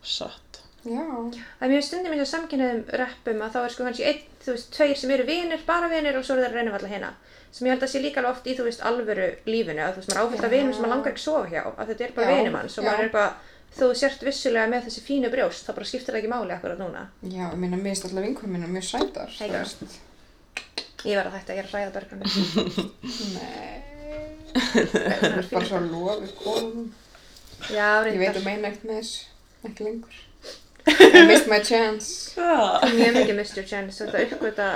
satt.
Já,
Það er mjög stundum eins og samkynniðum reppum að þá er sko kannski einn, þú veist, tveir sem eru vinir, bara vinir og svo eru þeir að reyna við alla hérna. Sem ég held að sé líka alveg oft í, þú veist, alvöru lífinu, að þú veist, maður áfyllt af vinum sem maður langar ekki að sofa hjá, að þetta er bara
Já,
vinum hans og maður
já.
er eitthvað, þú sért vissulega með þessi fínu brjóst, þá bara skiptir það ekki máli akkurat núna.
já, ég meina, mér erst alltaf vinkunum minna mjög sætar.
Hey, girl. Ég verð að þetta, ég er að hræða börnum
Nei,
minn.
bara svo lofið konum.
Já,
Ég veit
reyndar.
um að meina ekkert með þessu, ekki lengur. I missed my chance.
Já.
Mjög mikið Mr. Chance, þú ert að uppgöta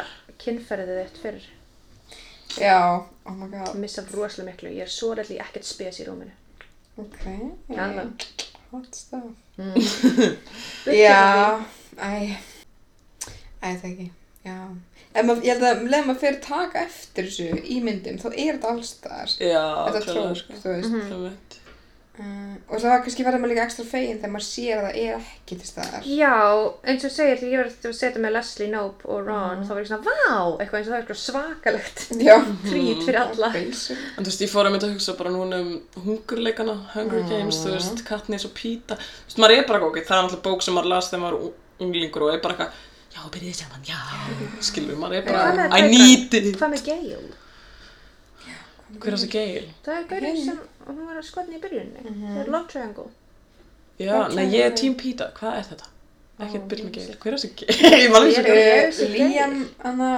kynferðið þitt fyrir.
Já, oh my god,
Missa rosalega miklu, ég er svo reyndli ekkert spes í rúminu.
ok.
Jalla.
Hot stuff.
Burt
Já, æ, æ, það ekki, já. En maður, ég held að leða maður fyrir taka eftir þessu í myndum, þá er þetta allstaðar.
Já,
Þetta Mhm.
klálega,
trók,
sko.
þú veist.
Einmitt.
Uh, og það var kannski verður maður líka ekstra fegin þegar maður sér að það er ekki til staðar.
Já, eins og segir því ég var að setja með Leslie Knope og Ron
Mm.
þá var ég svona, vá, eitthvað eins og það er eitthvað svakalegt
Já.
trít fyrir alla
Mm.
Basic.
En þú veist, ég fór að mynda að hugsa bara núna um hungurleikana,
Ah.
Hunger Games, þú veist, Katniss og Píta. Þú veist, maður er bara okkur, það er náttúrulega bók sem maður las þegar maður var unglingur og er bara eitthvað, já, byrjið saman, já, skilur, maður er
Hvað
bara,
með
I
Titan?
need it.
Hvað með Gale?
Hver er þessi geil? Mhm.
Það er gaurinn sem hún var að skotna í byrjunni Það er Love Triangle
Já,
Hvað
nei,
kemur
ég er
það?
tím Píta, hvað er þetta? Ekkert Byrni Geir, hver er þessi Geir? Ég man
Eh,
Ég
ekki
er- ég sé
sem
Líam, Anna,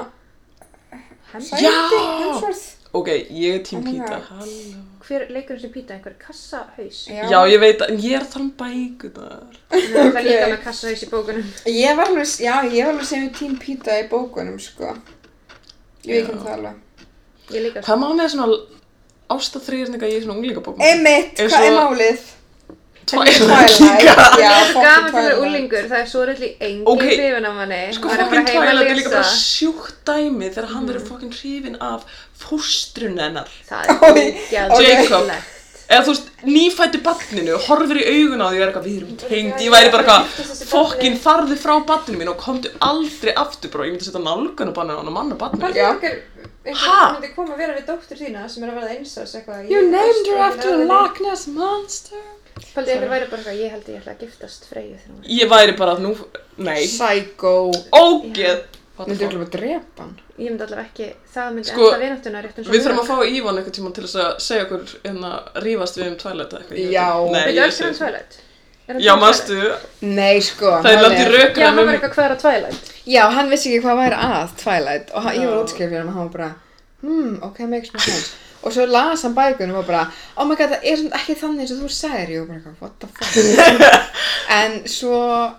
Hemsworth?
Sæti,
Já!
Hemsworth.
Ok, ég er tím
Oh my
Píta,
God.
halló
Hver leikur þessi pýta? Einhver kassahaus?
Já.
Já, ég veit að, en ég er að tala um bækunar
Það er líka
Ok.
með kassahaus í bókunum.
Ég var alveg, já, ég var alveg sem tím pýta í bókunum, sko. Ég veit ekki um
Já.
það alveg.
Ég líka.
Hvað má með svona ástaþrýrninga í svona unglingabókum?
Einmitt,
Eins
hvað er
og-
málið?
Twilight líka
Það er
já,
svo
fucking
sko. gaman fyrir
Twilight.
úlingur, það er svo reyndli engin
Ok.
okay. hrifin af manni.
Sko
Maður er
fokkin
bara heima að
Twilight er líka
lesa.
bara sjúkt dæmi þegar hann verður fokkin hrifin af fóstrun hennar
Það er
Oj,
ógæðlegt.
Jacob. eða þú veist, nýfættu barninu horfir í augun á því og er eitthvað, við erum tengd ég væri bara eitthvað, fokkin farði frá barninu mín og komdu aldrei aftur bara, ég myndi setja nálgun á barninu og manna barninu
Pældi
Já.
okkur,
Ha?
einhvern myndi koma að vera við dóttur þína sem er að verða einsás eitthvað.
You
ég-
named
ég-
her after a Loch Ness Monster
Paldi ykkur væri bara eitthvað, ég held að ég ætla að giftast Freyju þegar hún
ég væri bara, nú, nei
Psycho.
ógeð What the
Myndi
fuck?
ekki að drepa hann.
Ég myndi allavega ekki, það myndi
Sko,
enda vináttuna rétt eins og
Við þurfum að fá Ívan eitthvað tíma til þess að segja okkur hérna, rífast við um Twilight eða eitthvað ég veit
Já.
ekki. Nei,
Veitu
ég
öll hann
segi-
um Twilight? Er hann
Já,
Twilight?
mástu,
Nei, sko.
það er
hann
Já,
landið
hann
rökræðan
var eitthvað hver að Twilight.
Já, hann vissi ekki hvað væri að Twilight og hann, ég
Já.
var útskrifin fyrir hann og hann var bara hmm, ok, makes more sense og svo las hann bækunum og bara oh my god, það er samt ekki þannig eins og þú sagðir ég var bara eitthvað, what the fuck en svo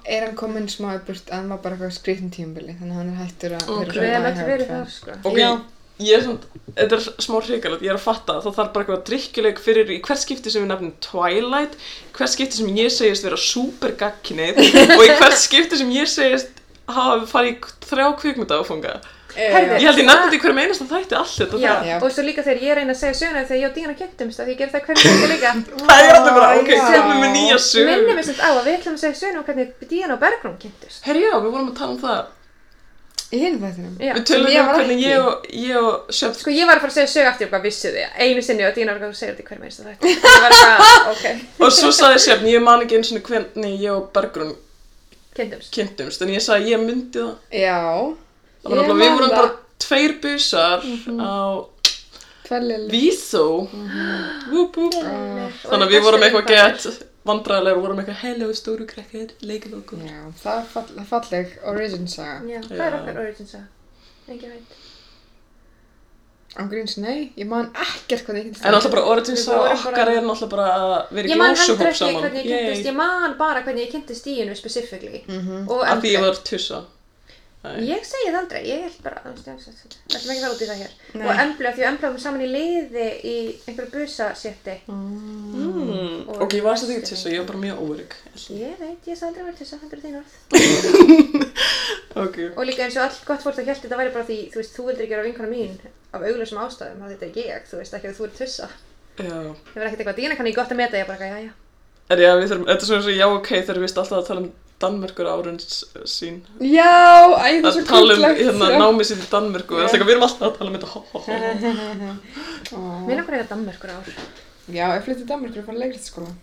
er hann kominn smá í burt að hann var bara eitthvað skrítin tímabili þannig að hann er hættur að
Ok.
Við hefum
svona die
öll
hérna.
hard
verið
fan.
þar, sko.
Ok,
Já.
ég er svona, þetta er smá hrikalegt, ég er að fatta að það þarf bara eitthvað drikkjuleik fyrir í hvert skipti sem við nefnum Twilight, hvert skipti sem ég segist vera supergagkinnið og í hvert skipti sem ég segist hafa farið í þrjá kvikmynda áfunga.
Herðu.
Ég held ég nefndi þetta í hverjum einasta þætti allt þetta
Já,
það.
Já.
og svo líka þegar ég reyna að segja söguna þegar ég og Díana kjöndumst að ég ger það hvernig þetta líka
Það er alltaf bara, ok,
Já.
komum við nýja
minnum
sögum.
við sem á að við ætlum að segja söguna um hvernig Díana og Bergrún kjöndust
Herri já, við vorum að tala um það.
í hinn þættinum
Já,
Við tölum
Sem ég
um
var
hvernig
ekki.
ég og, ég og Sjöfn
sko ég var að fara að segja sög aftur eitthvað vissu þið einu sinni og Díana var eitthvað að segja þetta í hverjum einsta þætti ég var eitthvað, ok,
og svo sagði Sjöfn, ég man ekki eins og hvernig ég og Bergrún
kjöndumst
kynntumst, en ég sagði ég myndi það.
já,
Það var
Ég
nefnilega, við
man
vorum
það.
bara tveir busar
Mhm.
á
tvellilega
Vísó.
Mhm.
Vúp, vúp. Þannig að við vorum eitthvað gett vandræðilega og vorum eitthvað hello stóru krakkar, leikum okkur.
já, það er fall, falleg origin saga
já, hvað er
Já.
okkar origins að engin veit
án gríns, nei, ég man ekkert hvernig ég
En alltaf bara origin
Við
saga
vorum
okkar
bara-
er náttúrulega bara að vera í
ég man heldur
ljósuhóp
ekki
saman.
hvernig ég kynntist, ég man bara hvernig ég kynntist díinu specifíkli
Mhm.
og
Mm. Af því ég
eldri.
var tussa. Nei.
Ég segi það aldrei, ég held bara, þú veist, ég veist, við ætlum ekki að fara út í það hér.
Nei.
Og emblu, af því að emblu kom saman í liði í einhverju busasétti.
Mm-hmm.
Mm.
Og-
Ok, ég var þess að því tussa, ég var bara mjög óörygg.
Ég veit, ég sagði aldrei verið til þess að hendur þín orð.
Ok.
Og líka eins og allt gott fólk það held þetta væri bara því, þú veist, þú vildir ekki vera vinkona mín af auglösum ástæðum, þá þetta er ég, þú veist ekki að þú ert tussa.
Já.
Það verði ekkert eitthvað, dína kann ég gott að meta, ég bara ekki, já, já.
En já, við þurfum, þetta er svona eins og já ok þegar við veist alltaf að tala um Danmerkur árens sín.
já, æ, það er
Að
svo
tala um
krúttlegt,
hérna
já.
námið sitt í Danmerku. Það er eitthvað, við erum alltaf að tala um þetta. Ho, ho, ho. Mm.
Ó.
Mér langar eitthvað Danmerkur ár.
Já, ég flytti í Danmarkur og fann leikriðskóla.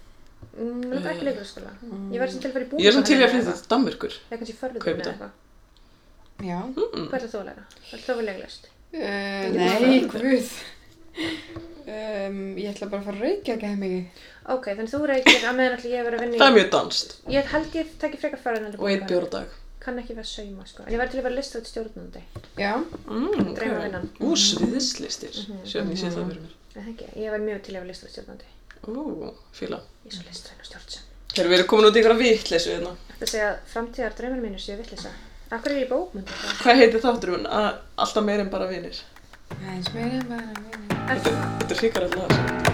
Mm, Mér langar ekki leikuraskóla. Ég væri sem til að fara í
Ég er svona til í að flytja
búningshönnun eða
til Danmörkur. Mm.
eitthvað. Eða kannski í Förðum
Kaupi
eða
þetta.
eitthvað.
Já.
Hvað ætlar þú að læra? Hvað ætlar þú að leiklæst?
Uh, nei, guð. Um, ég ætla bara að fara að reykja ekki hefði mikið.
Ok, þannig þú reykir að meðan allir ég að vera að vinna í...
Það er mjög danst
Ég held ég tekki frekar farið en
og einn bjór á dag.
Kann ekki vera að sauma, sko. En ég væri til að vera listrætt stjórnandi.
Já.
Mm, Mhm. ok.
Draumavinnan.
Ú, sviðislistir. Sjöfn, ég sé það fyrir mér.
Ég þekki, ég væri mjög til að vera listrætt stjórnandi.
Ú, fíla.
Ég er svo listrætt og stjórnsam.
Þegar við erum komin út í ykkur að vitleysu hérna.
Þetta segja að framtíðar draumar mínu séu vittlisa. Akkur er ég bókmynd þetta?
Hvað heitir þáttur um að alltaf meir en bara vinir?
Aðeins meira en bara meira.
Er það?
Þetta er hrikarallega.